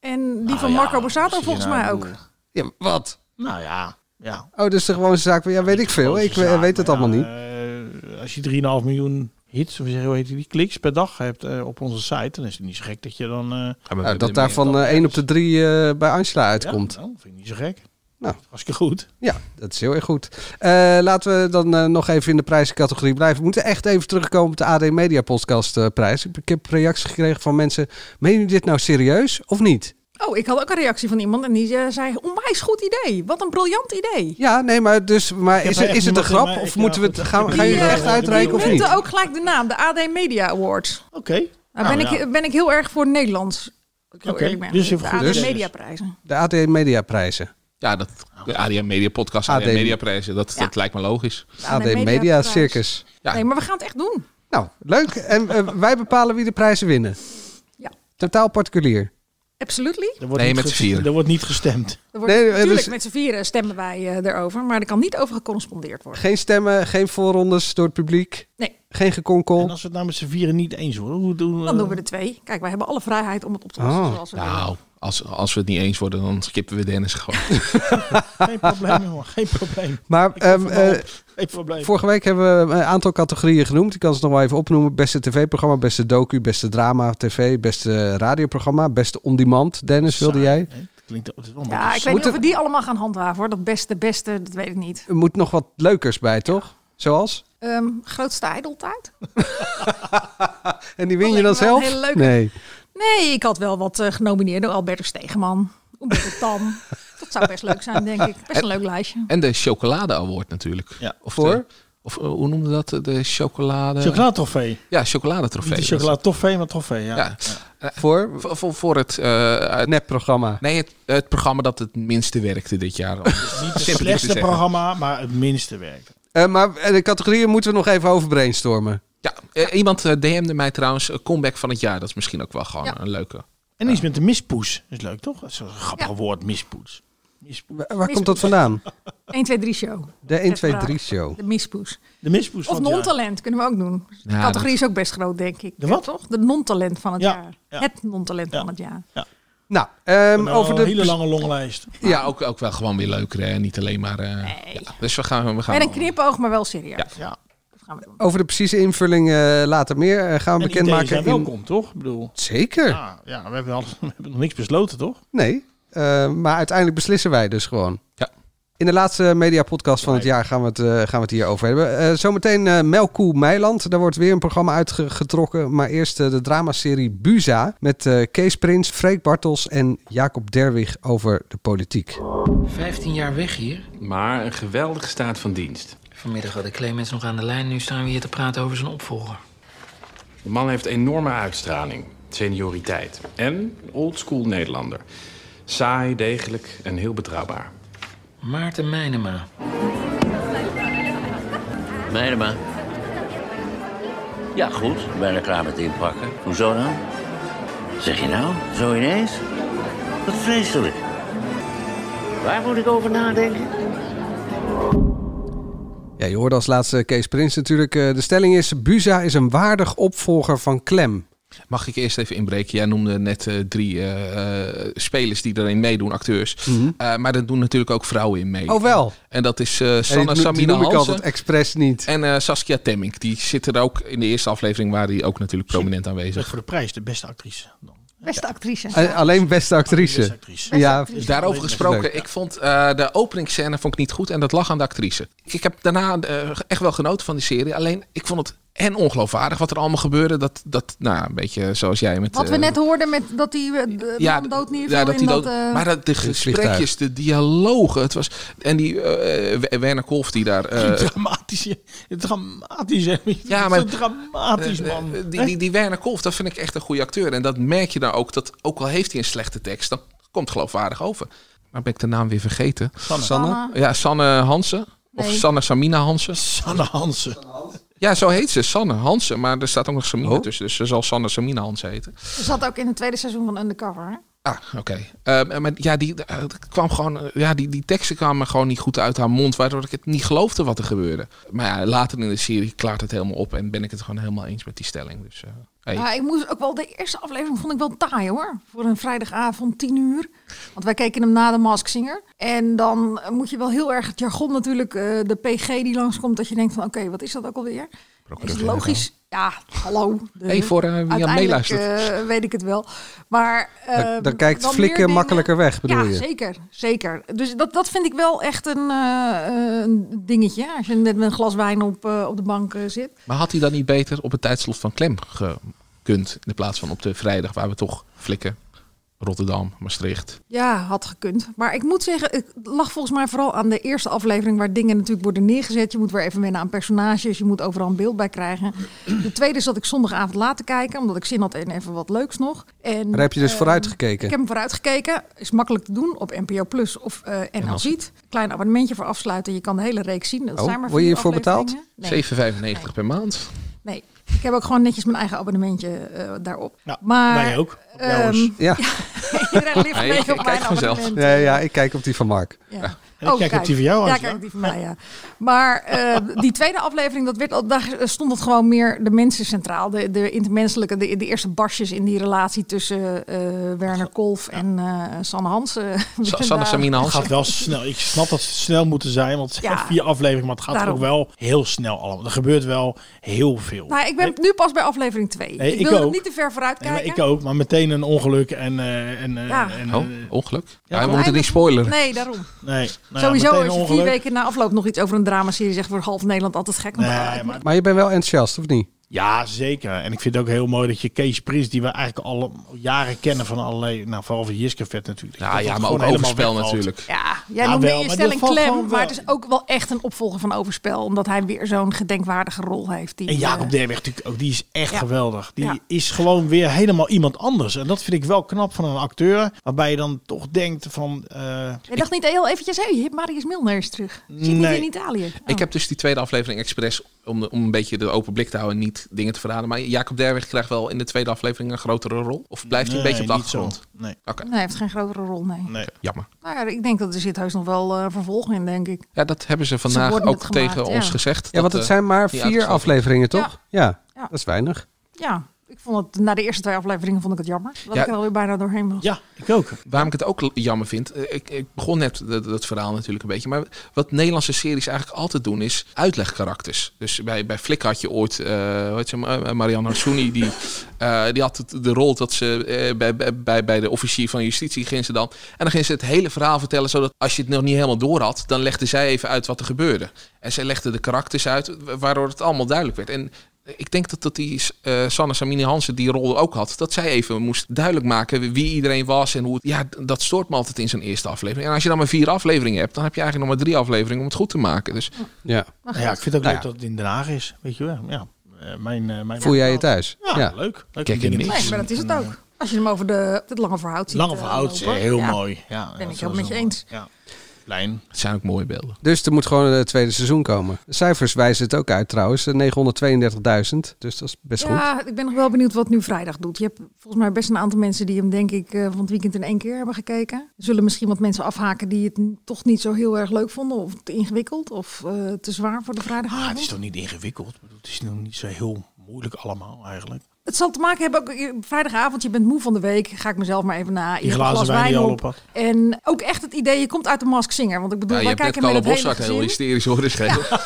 Speaker 10: En die
Speaker 7: Nou
Speaker 10: van
Speaker 7: ja,
Speaker 10: Marco
Speaker 7: wat
Speaker 10: Borsato
Speaker 7: zie je
Speaker 10: volgens
Speaker 7: nou?
Speaker 10: mij
Speaker 7: Ik
Speaker 10: ook.
Speaker 7: bedoel,
Speaker 8: Ja, wat?
Speaker 7: Nou ja, ja.
Speaker 8: Oh, dus de gewone zaak van, ja, weet ik veel. Ik we- weet het allemaal
Speaker 7: eh,
Speaker 8: niet.
Speaker 7: niet. Als je 3,5 miljoen hits, of zeg, hoe heet die, kliks per dag hebt eh, op onze site, dan is het niet zo gek dat je dan... eh,
Speaker 8: Nou, dat daarvan eh, één op de drie eh, bij Angela uitkomt.
Speaker 7: Ja, nou, vind ik niet zo gek.
Speaker 8: Nou.
Speaker 7: Hartstikke goed.
Speaker 8: Ja, dat is heel erg goed. Eh, laten we dan eh, nog even in de prijzencategorie blijven. We moeten echt even terugkomen op de AD Media Podcast eh, prijs. Ik ik heb reacties gekregen van mensen. Meen jullie dit nou serieus of niet?
Speaker 10: Oh, ik had ook een reactie van iemand en die eh, zei: onwijs goed idee. Wat een briljant idee.
Speaker 8: Ja, nee, maar, dus, maar
Speaker 7: heb
Speaker 8: is, het-
Speaker 7: echt
Speaker 8: is het een
Speaker 7: niemand in
Speaker 8: grap?
Speaker 7: mijn-
Speaker 8: Of
Speaker 7: ja,
Speaker 8: moeten we het,
Speaker 7: goed, ik
Speaker 8: gaan,
Speaker 7: heb
Speaker 8: gaan jullie
Speaker 10: hier,
Speaker 8: het
Speaker 10: eh,
Speaker 8: echt uitreiken of
Speaker 10: Ik
Speaker 8: niet?
Speaker 10: noemde ook gelijk de naam, de AD Media Awards.
Speaker 7: Oké.
Speaker 10: Nou, ben
Speaker 7: Nou,
Speaker 10: ik
Speaker 7: ja.
Speaker 10: ben ik heel erg voor Nederlands. Ik heel
Speaker 7: Oké,
Speaker 10: eerlijk ben.
Speaker 7: dus je
Speaker 10: de
Speaker 7: vergoedt
Speaker 10: AD
Speaker 8: dus.
Speaker 10: Mediaprijzen.
Speaker 8: De AD Media Prijzen.
Speaker 9: Ja, dat de ADM Media Podcast, ADM
Speaker 8: ADM.
Speaker 9: Media Prijzen, dat,
Speaker 10: Ja.
Speaker 9: dat lijkt me logisch.
Speaker 10: De
Speaker 8: AD
Speaker 10: Media
Speaker 8: Media
Speaker 10: Prijs.
Speaker 8: Circus.
Speaker 9: Ja.
Speaker 10: Nee, maar we gaan het echt doen.
Speaker 8: Nou, leuk. En eh, wij bepalen wie de prijzen winnen.
Speaker 10: Ja.
Speaker 8: Totaal particulier.
Speaker 10: Absolutely.
Speaker 7: Er wordt
Speaker 9: Nee,
Speaker 7: niet
Speaker 9: met z'n
Speaker 7: gest-
Speaker 9: vieren.
Speaker 7: Er wordt niet gestemd.
Speaker 10: Er wordt,
Speaker 8: Nee, we
Speaker 10: natuurlijk,
Speaker 8: hebben-
Speaker 10: met z'n vieren stemmen wij eh, erover, maar er kan niet over gecorrespondeerd worden.
Speaker 8: Geen stemmen, geen voorrondes door het publiek.
Speaker 10: Nee.
Speaker 8: Geen
Speaker 7: En
Speaker 8: gekonkel.
Speaker 7: als we het nou met z'n vieren niet eens worden, hoe doen we...
Speaker 10: Oh. Dan doen we de twee. Kijk, wij hebben alle vrijheid om het op te lossen
Speaker 8: Oh.
Speaker 10: zoals we willen.
Speaker 9: Nou, als, als we het niet eens worden, dan skippen we Dennis gewoon.
Speaker 7: Geen probleem, jongen. Geen probleem.
Speaker 8: Maar
Speaker 7: Ik kom
Speaker 8: ehm,
Speaker 7: van
Speaker 8: eh,
Speaker 7: op. Geen probleem.
Speaker 8: Vorige week hebben we een aantal categorieën genoemd. Ik kan ze nog wel even opnoemen. Beste tv-programma, beste docu, beste drama, tv, beste radioprogramma, beste on-demand. Dennis, dus wilde
Speaker 7: Saai,
Speaker 8: jij?
Speaker 7: hè? Het klinkt het is wel een
Speaker 10: Ja,
Speaker 7: beetje
Speaker 10: ik weet niet
Speaker 8: moeten-
Speaker 10: of we die allemaal gaan handhaven hoor. Dat beste, beste, dat weet ik niet.
Speaker 8: Er moet nog wat leukers bij, toch? Zoals?
Speaker 10: Ehm, grootste ijdeltijd?
Speaker 8: En die win
Speaker 10: Dat
Speaker 8: je dan
Speaker 10: lijkt me wel
Speaker 8: zelf?
Speaker 10: een hele leuke.
Speaker 8: Nee.
Speaker 10: Nee, ik had wel wat eh, genomineerd door Albertus Stegeman. Umberto Tan. Dat zou best leuk zijn, denk ik. Best een leuk lijstje.
Speaker 9: En de Chocolade Award natuurlijk.
Speaker 7: Ja.
Speaker 9: Of
Speaker 8: Voor?
Speaker 9: de- of eh, hoe noemde dat? De chocolade...
Speaker 7: Chocoladetrofee.
Speaker 9: Ja, chocoladetrofee.
Speaker 7: Niet de chocoladetrofee, maar trofee, ja.
Speaker 9: Ja.
Speaker 8: Voor?
Speaker 9: Voor, voor, voor het... eh,
Speaker 8: Het
Speaker 9: uit-
Speaker 8: nepprogramma.
Speaker 9: nee, het, het programma dat het minste werkte dit jaar.
Speaker 7: Niet
Speaker 9: Simpel
Speaker 7: het
Speaker 9: te
Speaker 7: slechtste
Speaker 9: zeggen.
Speaker 7: programma, maar het minste werkt.
Speaker 8: Eh, maar eh, de categorieën moeten we nog even over brainstormen.
Speaker 9: Ja, eh, iemand eh, DM'de mij trouwens, eh, comeback van het jaar. Dat is misschien ook wel gewoon
Speaker 10: Ja.
Speaker 9: een leuke.
Speaker 7: En iets met de mispoes. Is leuk, toch? Dat is wel een grappig
Speaker 10: Ja.
Speaker 7: woord, mispoes. Mispoes.
Speaker 8: Waar, waar komt dat vandaan?
Speaker 10: 1, 2, 3 show.
Speaker 8: De 1, 2,
Speaker 10: vraag.
Speaker 8: 3 show.
Speaker 10: De mispoes.
Speaker 7: De mispoes
Speaker 10: Of
Speaker 7: van het jaar.
Speaker 10: non-talent kunnen we ook doen. De
Speaker 9: Ja,
Speaker 10: categorie is ook best groot, denk ik.
Speaker 7: De wat?
Speaker 10: Toch? De non-talent van het
Speaker 7: Ja,
Speaker 10: jaar.
Speaker 7: ja.
Speaker 10: Het non-talent
Speaker 7: Ja.
Speaker 10: van het jaar.
Speaker 8: Nou, ehm,
Speaker 7: Nou,
Speaker 8: over de...
Speaker 7: Een hele lange longlijst.
Speaker 9: Ja, ook, ook wel gewoon weer leuker. Hè? Niet alleen maar... eh, ja. Dus we gaan... We gaan
Speaker 10: Met een knipoog, maar wel serieus.
Speaker 7: Ja.
Speaker 10: Dat gaan we doen.
Speaker 8: Over de precieze invulling eh, later meer. Eh, gaan we
Speaker 7: En ideeën
Speaker 8: bekendmaken.
Speaker 7: zijn
Speaker 8: in-
Speaker 7: welkom, toch? Ik bedoel,
Speaker 8: Zeker.
Speaker 7: ja, ja, we, hebben al, we hebben nog niks besloten, toch?
Speaker 8: Nee, eh, maar uiteindelijk beslissen wij dus gewoon.
Speaker 9: Ja.
Speaker 8: In de laatste mediapodcast van het jaar gaan we het, eh, gaan we het hier over hebben. Eh, zometeen eh, Melkoe Meiland. Daar wordt weer een programma uitgetrokken. Maar eerst eh, de dramaserie Buza. Met eh, Kees Prins, Freek Bartels en Jacob Derwig over de politiek.
Speaker 11: 15 jaar weg hier.
Speaker 2: Maar een geweldige staat van dienst.
Speaker 11: Vanmiddag hadden Clemens nog aan de lijn. Nu staan we hier te praten over zijn opvolger.
Speaker 2: De man heeft enorme uitstraling, senioriteit en oldschool Nederlander. Saai, degelijk en heel betrouwbaar.
Speaker 11: Maarten Meinema. Meinema. Ja, goed. Bijna klaar met inpakken. Hoezo dan? Zeg je nou, zo ineens? Wat vreselijk. Waar moet ik over nadenken?
Speaker 8: Ja, je hoorde als laatste Kees Prins natuurlijk. Eh, de stelling is: Buza is een waardig opvolger van Klem.
Speaker 9: Mag ik eerst even inbreken? Jij noemde net eh, drie eh, eh, spelers die erin meedoen, acteurs. Eh, maar er doen natuurlijk ook vrouwen in mee.
Speaker 8: Mhm. Oh, wel.
Speaker 9: En dat is eh
Speaker 8: En
Speaker 9: Sanne
Speaker 8: die, noem- die
Speaker 9: Samina
Speaker 8: noem ik
Speaker 9: Hansen
Speaker 8: altijd expres niet.
Speaker 9: en eh, Saskia Temmink. Die zitten er ook in de eerste aflevering, waren die ook natuurlijk prominent
Speaker 7: Zeg
Speaker 9: aanwezig.
Speaker 7: voor de prijs, de beste actrice. Dan.
Speaker 10: Beste actrice.
Speaker 8: Eh, alleen beste
Speaker 7: Beste
Speaker 8: actrice.
Speaker 7: actrice.
Speaker 8: Ja,
Speaker 9: Dus Daarover
Speaker 8: Leuk,
Speaker 9: gesproken, ik vond eh, de openingsscène vond ik niet goed en dat lag aan de actrice. Ik heb daarna eh, echt wel genoten van die serie, alleen ik vond het en ongeloofwaardig wat er allemaal gebeurde. Dat, dat nou, een beetje zoals jij met...
Speaker 10: Wat we
Speaker 9: eh,
Speaker 10: net hoorden met dat die eh, de man dood neerviel
Speaker 9: dat
Speaker 10: in
Speaker 9: die
Speaker 10: dat...
Speaker 9: dood-
Speaker 10: eh,
Speaker 9: maar dat, de
Speaker 8: het
Speaker 9: gesprekjes,
Speaker 8: vliegtuig.
Speaker 9: de dialogen. Het was, en die eh, W- Werner Kolf die daar... eh,
Speaker 7: dramatische, dramatische.
Speaker 9: Ja,
Speaker 7: Ja,
Speaker 9: maar-
Speaker 7: maar dramatisch man.
Speaker 9: eh, die,
Speaker 7: Hè?
Speaker 9: die, die Werner Kolf, dat vind ik echt een goede acteur. En dat merk je dan ook, dat ook al heeft hij een slechte tekst, dan komt het geloofwaardig over. Maar Nou ben ik de naam weer vergeten.
Speaker 7: Sanne.
Speaker 10: Sanne.
Speaker 9: Ja, Sanne Hansen. Of
Speaker 10: Nee.
Speaker 9: Sanne Samina Hansen.
Speaker 7: Sanne Hansen.
Speaker 9: Ja, zo heet ze. Sanne Hansen. Maar er staat ook nog Samina tussen. Dus ze zal Sanne Samina Hansen heten.
Speaker 10: Ze zat ook in het tweede seizoen van Undercover. Hè?
Speaker 9: Ah, oké. Ehm, maar ja, die, eh, het kwam gewoon, eh, ja die, die teksten kwamen gewoon niet goed uit haar mond, waardoor ik het niet geloofde wat er gebeurde. Maar ja, later in de serie klaart het helemaal op en ben ik het gewoon helemaal eens met die stelling. Dus, eh, hey.
Speaker 10: Maar ik moest ook wel de eerste aflevering vond ik wel taai hoor. Voor een vrijdagavond 10 uur. Want wij keken hem na de Mask Singer. En dan eh, moet je wel heel erg het jargon natuurlijk, eh, de PG die langskomt, dat je denkt van oké, wat is dat ook alweer? Is het logisch? Ja, hallo. de-
Speaker 9: Hey, voor, eh, wie aan
Speaker 10: Uiteindelijk,
Speaker 9: meeluistert.
Speaker 10: eh, weet ik het wel. Maar
Speaker 8: Dan,
Speaker 10: ehm,
Speaker 8: dan kijkt
Speaker 10: wel meer
Speaker 8: Flikken
Speaker 10: dingen-
Speaker 8: makkelijker weg, bedoel
Speaker 10: ja,
Speaker 8: je?
Speaker 10: zeker, zeker. Dus dat, dat vind ik wel echt een, eh, eh, een dingetje. Als je net met een glas wijn op, eh, op de bank eh, zit.
Speaker 9: Maar had hij dan niet beter op het tijdslot van Klem gekund, in plaats van op de vrijdag, waar we toch flikken, Rotterdam, Maastricht.
Speaker 10: Ja, had gekund. Maar ik moet zeggen, het lag volgens mij vooral aan de eerste aflevering... waar dingen natuurlijk worden neergezet. Je moet weer even wennen aan personages. Je moet overal een beeld bij krijgen. De tweede zat ik zondagavond laten kijken... omdat ik zin had in even wat leuks nog. En,
Speaker 8: Daar heb je dus
Speaker 10: eh,
Speaker 8: vooruitgekeken.
Speaker 10: Ik heb hem vooruitgekeken. Is makkelijk te doen op NPO Plus of eh NL Ziet. Klein abonnementje voor afsluiten. Je kan de hele reeks zien. Dat
Speaker 8: Oh,
Speaker 10: zijn maar
Speaker 8: word je
Speaker 10: vier
Speaker 8: hiervoor betaald?
Speaker 10: afleveringen. Nee.
Speaker 9: 7,95 per maand.
Speaker 10: Nee, ik heb ook gewoon netjes mijn eigen abonnementje eh, daarop.
Speaker 7: Nou,
Speaker 10: maar,
Speaker 7: wij ook. Ja,
Speaker 10: ehm,
Speaker 7: jongens.
Speaker 8: Ja.
Speaker 10: iedereen ligt
Speaker 9: Hey,
Speaker 10: mee
Speaker 9: ik
Speaker 10: op mijn
Speaker 9: kijk vanzelf.
Speaker 10: abonnement.
Speaker 8: Ja, ja, ik kijk op die van Mark.
Speaker 10: Ja.
Speaker 7: En ik kijk op die van jou,
Speaker 10: Ja,
Speaker 7: Angela.
Speaker 10: kijk op die van mij, ja. Maar eh, die tweede aflevering, dat werd, al- daar stond het gewoon meer de mensen centraal. De, de intermenselijke, de, de eerste barsjes in die relatie tussen eh, Werner Kolf en eh Sanne Hansen.
Speaker 9: Sa- Sanne
Speaker 10: Daar-
Speaker 9: Samina
Speaker 7: Het
Speaker 9: Hansen.
Speaker 7: gaat wel snel. Ik snap dat ze snel moeten zijn, want het zijn
Speaker 10: Ja.
Speaker 7: vier afleveringen, maar het gaat
Speaker 10: Daarom.
Speaker 7: ook wel heel snel allemaal. Er gebeurt wel heel veel.
Speaker 10: Nou, ik ben nu pas bij aflevering 2.
Speaker 7: Nee,
Speaker 10: ik
Speaker 7: ik
Speaker 10: wil er
Speaker 7: ook.
Speaker 10: niet te ver vooruit
Speaker 7: Nee, maar
Speaker 10: kijken.
Speaker 7: ik ook, maar meteen een ongeluk en... eh, en, eh,
Speaker 10: Ja.
Speaker 7: en, eh,
Speaker 9: Oh, ongeluk. Ja, we
Speaker 7: toch?
Speaker 9: moeten
Speaker 10: Eindelijk-
Speaker 9: niet spoileren.
Speaker 10: Nee, daarom.
Speaker 7: nee, nou ja,
Speaker 10: Sowieso
Speaker 7: meteen
Speaker 10: als
Speaker 7: een
Speaker 10: je vier
Speaker 7: ongeluk.
Speaker 10: weken na afloop nog iets over een dramaserie zegt, wordt half Nederland altijd gek. want, ah,
Speaker 7: Nee,
Speaker 10: ik-
Speaker 7: maar,
Speaker 8: Maar je bent wel enthousiast, of niet?
Speaker 7: ja, zeker. En ik vind het ook heel mooi dat je Kees Prins, die we eigenlijk al jaren kennen van allerlei... Nou, vooral van Jiske Vet natuurlijk.
Speaker 9: Ja,
Speaker 7: dat
Speaker 9: ja,
Speaker 7: dat
Speaker 9: maar ook
Speaker 7: gewoon helemaal
Speaker 9: overspel
Speaker 7: wegvalt.
Speaker 9: natuurlijk.
Speaker 10: Ja, jij
Speaker 7: Ja,
Speaker 10: noemde
Speaker 7: wel,
Speaker 10: in je
Speaker 7: maar
Speaker 10: stelling
Speaker 7: dat valt gewoon
Speaker 10: klem,
Speaker 7: wel.
Speaker 10: maar het is ook wel echt een opvolger van Overspel, omdat hij weer zo'n gedenkwaardige rol heeft. Die,
Speaker 7: En Jacob
Speaker 10: eh,
Speaker 7: Derweg natuurlijk ook, die is echt
Speaker 10: Ja.
Speaker 7: geweldig. Die
Speaker 10: Ja.
Speaker 7: is gewoon weer helemaal iemand anders. En dat vind ik wel knap van een acteur. Waarbij je dan toch denkt van... eh,
Speaker 10: Je dacht niet heel eventjes, hé, hey, Marius Milner is terug. Zit niet
Speaker 7: Nee.
Speaker 10: in Italië. Oh.
Speaker 9: Ik heb dus die tweede aflevering expres, om, de- om een beetje de open blik te houden en niet dingen te verraden. Maar Jacob Derwig krijgt wel in de tweede aflevering een grotere rol. Of blijft hij een
Speaker 7: nee,
Speaker 9: beetje op de
Speaker 7: niet zo.
Speaker 9: achtergrond?
Speaker 7: Nee.
Speaker 9: Oké,
Speaker 10: Nee, hij heeft geen grotere rol, nee.
Speaker 7: Nee.
Speaker 9: jammer.
Speaker 10: Maar ja, ik denk dat er zit heus nog wel eh vervolg in, denk ik.
Speaker 9: Ja, dat hebben ze vandaag
Speaker 10: worden
Speaker 9: ook
Speaker 10: het gemaakt,
Speaker 9: tegen
Speaker 10: ja.
Speaker 9: ons gezegd. eh,
Speaker 8: Ja, want
Speaker 7: eh,
Speaker 8: het zijn maar
Speaker 9: die
Speaker 8: vier
Speaker 9: uitgesloten.
Speaker 8: afleveringen, toch? Ja.
Speaker 10: Ja.
Speaker 8: dat is weinig.
Speaker 10: Ja, ik vond het, na de eerste twee afleveringen vond ik het jammer. Dat
Speaker 9: Ja.
Speaker 10: ik er alweer bijna doorheen was.
Speaker 7: Ja, ik ook.
Speaker 9: Waarom ik het ook l- jammer vind, eh, ik, ik begon net dat, dat verhaal natuurlijk een beetje, maar wat Nederlandse series eigenlijk altijd doen is uitlegkarakters. Dus bij, bij Flik had je ooit, eh hoe heet ze, Ma- eh, Marianne Harsouni, die, eh, die had het- de rol dat ze eh, bij- bij, bij, bij de officier van justitie ging ze dan, en dan ging ze het hele verhaal vertellen, zodat als je het nog niet helemaal door had, dan legde zij even uit wat er gebeurde. En zij legde de karakters uit, wa- waardoor het allemaal duidelijk werd. En ik denk dat, dat die eh Sanne Samine Hansen die rol ook had. Dat zij even moest duidelijk maken wie iedereen was en hoe het... Ja, d- dat stoort me altijd in zo'n eerste aflevering. En als je dan maar vier afleveringen hebt, dan heb je eigenlijk nog maar drie afleveringen om het goed te maken. Dus
Speaker 8: Ja.
Speaker 7: Nou ja, ik vind het ook
Speaker 8: Nou
Speaker 7: leuk
Speaker 8: ja.
Speaker 7: dat het in Den Haag is. Weet je wel. Ja, eh, mijn, eh, mijn
Speaker 8: Voel jij je thuis?
Speaker 7: Ja, leuk. leuk
Speaker 9: Kijk,
Speaker 7: om dingen
Speaker 9: in
Speaker 7: te
Speaker 9: niks.
Speaker 10: Nee, maar dat is het ook. Als je hem over de, het lange verhoud ziet.
Speaker 7: Lange
Speaker 10: eh,
Speaker 7: verhoud, is
Speaker 10: lopen.
Speaker 7: heel
Speaker 10: Ja.
Speaker 7: mooi. Ja,
Speaker 10: Ben
Speaker 7: dat
Speaker 10: ik
Speaker 7: is
Speaker 10: ook met je
Speaker 7: mooi.
Speaker 10: eens. Ah,
Speaker 7: Ja. Lijn.
Speaker 9: het zijn ook mooie beelden.
Speaker 8: Dus er moet gewoon een tweede seizoen komen. De cijfers wijzen het ook uit trouwens. Eh, 932.000, dus dat is best goed.
Speaker 10: Ja, ik ben nog wel benieuwd wat nu vrijdag doet. Je hebt volgens mij best een aantal mensen die hem denk ik eh, van het weekend in één keer hebben gekeken. Er zullen misschien wat mensen afhaken die het n- toch niet zo heel erg leuk vonden. Of te ingewikkeld of eh, te zwaar voor de
Speaker 7: Ah, het
Speaker 10: vrijdagavond.
Speaker 7: is
Speaker 10: het,
Speaker 7: toch niet ingewikkeld? Ik bedoel, Het is nog niet zo heel moeilijk allemaal eigenlijk.
Speaker 10: zal te maken hebben, ook eh, vrijdagavond, je bent moe van de week. Ga ik mezelf maar even na. Je
Speaker 7: Die
Speaker 10: hebt een
Speaker 7: glazen
Speaker 10: glas
Speaker 7: wijn die al op had.
Speaker 10: En ook echt het idee, je komt uit de Mask Singer. Want ik bedoel,
Speaker 9: Ja, je
Speaker 10: wij
Speaker 9: hebt net
Speaker 10: kijken met
Speaker 9: Carlo
Speaker 10: het hele
Speaker 9: Bossart heel
Speaker 10: gezin.
Speaker 9: hysterisch dus horen schrijven.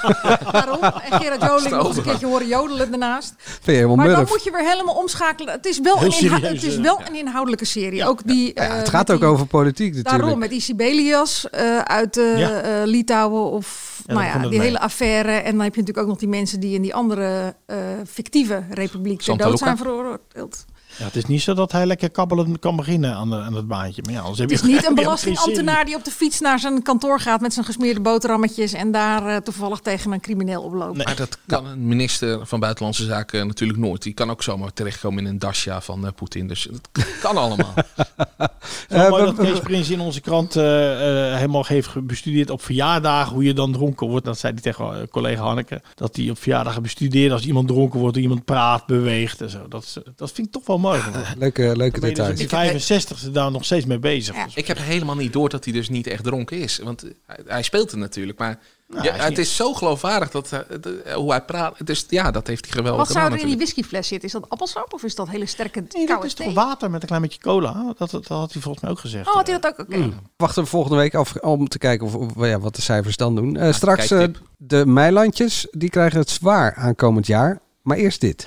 Speaker 10: Waarom? En Gerard Joling nog eens een
Speaker 9: Stel.
Speaker 10: keertje horen jodelen daarnaast.
Speaker 8: Vind je helemaal
Speaker 10: Maar dan
Speaker 8: murf.
Speaker 10: moet je weer helemaal omschakelen. Het is wel,
Speaker 7: Heel
Speaker 10: een, inha-
Speaker 7: serieus,
Speaker 10: het is
Speaker 7: eh,
Speaker 10: wel een inhoudelijke serie. Ook die,
Speaker 8: Ja, het
Speaker 10: eh,
Speaker 8: gaat
Speaker 10: met
Speaker 8: ook
Speaker 10: die-
Speaker 8: over politiek natuurlijk.
Speaker 10: Daarom, met die Sibelius eh, uit eh,
Speaker 7: Ja.
Speaker 10: eh, Litouwen of
Speaker 7: daar
Speaker 10: nou
Speaker 7: komt
Speaker 10: ja,
Speaker 7: het
Speaker 10: die
Speaker 7: mee.
Speaker 10: hele affaire. En dan heb je natuurlijk ook nog die mensen die in die andere eh, fictieve republiek ter
Speaker 9: Santa
Speaker 10: dood
Speaker 9: Luca.
Speaker 10: zijn veroordeeld.
Speaker 7: Ja, het is niet zo dat hij lekker kabbelend kan beginnen aan, de, aan het baantje. Maar ja, anders heb
Speaker 10: Het is
Speaker 7: je
Speaker 10: niet een
Speaker 7: heb je ook geen
Speaker 10: belastingambtenaar die op de fiets naar zijn kantoor gaat met zijn gesmeerde boterhammetjes en daar eh, toevallig tegen een crimineel oploopt.
Speaker 9: Maar dat kan een minister van Buitenlandse Zaken natuurlijk nooit. Die kan ook zomaar terechtkomen in een dasja van eh, Poetin. Dus dat kan allemaal.
Speaker 7: Het is wel mooi
Speaker 8: Eh,
Speaker 7: dat
Speaker 8: we-
Speaker 7: Kees Prins in onze krant eh, eh, helemaal heeft ge- bestudeerd op verjaardagen hoe je dan dronken wordt. Dat zei hij tegen eh, collega Hanneke. Dat hij op verjaardagen bestudeert als iemand dronken wordt, hoe iemand praat, beweegt en zo. Dat, is- eh, dat vind ik toch wel mooi. van hem.
Speaker 8: Ah, Leuke,
Speaker 7: Dan
Speaker 8: leuke
Speaker 7: ben je dus op
Speaker 8: details.
Speaker 7: die 65 daar nog steeds mee bezig. Dus
Speaker 9: Ik heb helemaal niet door dat hij dus niet echt dronken is. Want eh, hij, hij speelt het natuurlijk. Maar ja,
Speaker 7: Nou, hij is
Speaker 9: het
Speaker 7: niet-
Speaker 9: is zo geloofwaardig dat, eh, de- eh, hoe hij praat. Dus ja, dat heeft hij geweldig
Speaker 10: Wat
Speaker 9: gedaan
Speaker 10: zou er in die
Speaker 9: natuurlijk.
Speaker 10: whiskyfles zitten? Is dat appelsap of is dat hele sterke
Speaker 7: Nee, dat
Speaker 10: koude
Speaker 7: is toch
Speaker 10: thee?
Speaker 7: water met een klein beetje cola? Dat, dat had hij volgens mij ook gezegd.
Speaker 10: Oh, had hij dat ook? Oké.
Speaker 7: Mm.
Speaker 8: Wachten we volgende week af om te kijken of, of- ja, wat de cijfers dan doen. Eh, straks eh,
Speaker 9: kijktip.
Speaker 8: de meilandjes, die krijgen het zwaar aankomend jaar. Maar eerst dit.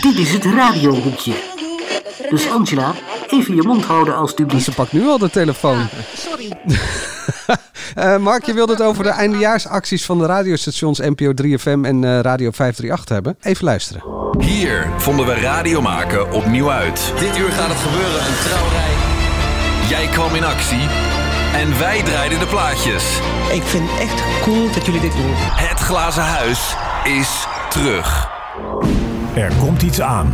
Speaker 12: Dit is het radiohoekje. Dus Angela, even je mond houden alstublieft.
Speaker 8: Dus Ze pakt nu al de telefoon.
Speaker 10: Sorry.
Speaker 8: Eh, Mark, je wilde het over de eindejaarsacties van de radiostations NPO 3FM en eh, Radio 538 hebben. Even luisteren.
Speaker 13: Hier vonden we radio maken opnieuw uit. Dit uur gaat het gebeuren, een trouwerij. Jij kwam in actie en wij draaiden de plaatjes.
Speaker 14: Ik vind het echt cool dat jullie dit doen.
Speaker 13: Het glazen huis is terug.
Speaker 15: Er komt iets aan.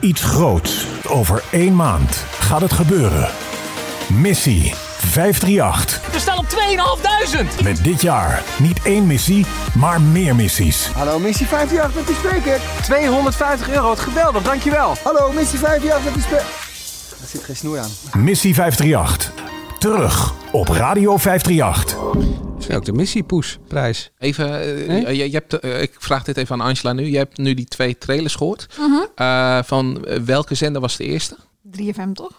Speaker 15: Iets groots. Over één maand gaat het gebeuren. Missie 538.
Speaker 14: We staan op 2500!
Speaker 15: Met dit jaar niet één missie, maar meer missies.
Speaker 16: Hallo, missie 58 met die spreker. 250 euro, wat geweldig, dankjewel. Hallo, missie 58 met die spreker. Er zit geen snoer aan.
Speaker 15: Missie 538. Terug op Radio 538.
Speaker 8: Misschien ook de Missiepoesprijs.
Speaker 9: Even, eh, eh, je, je hebt, eh, ik vraag dit even aan Angela nu. Je hebt nu die twee trailers gehoord.
Speaker 10: Mhm.
Speaker 9: Eh, van eh, welke zender was de eerste?
Speaker 10: 3FM toch?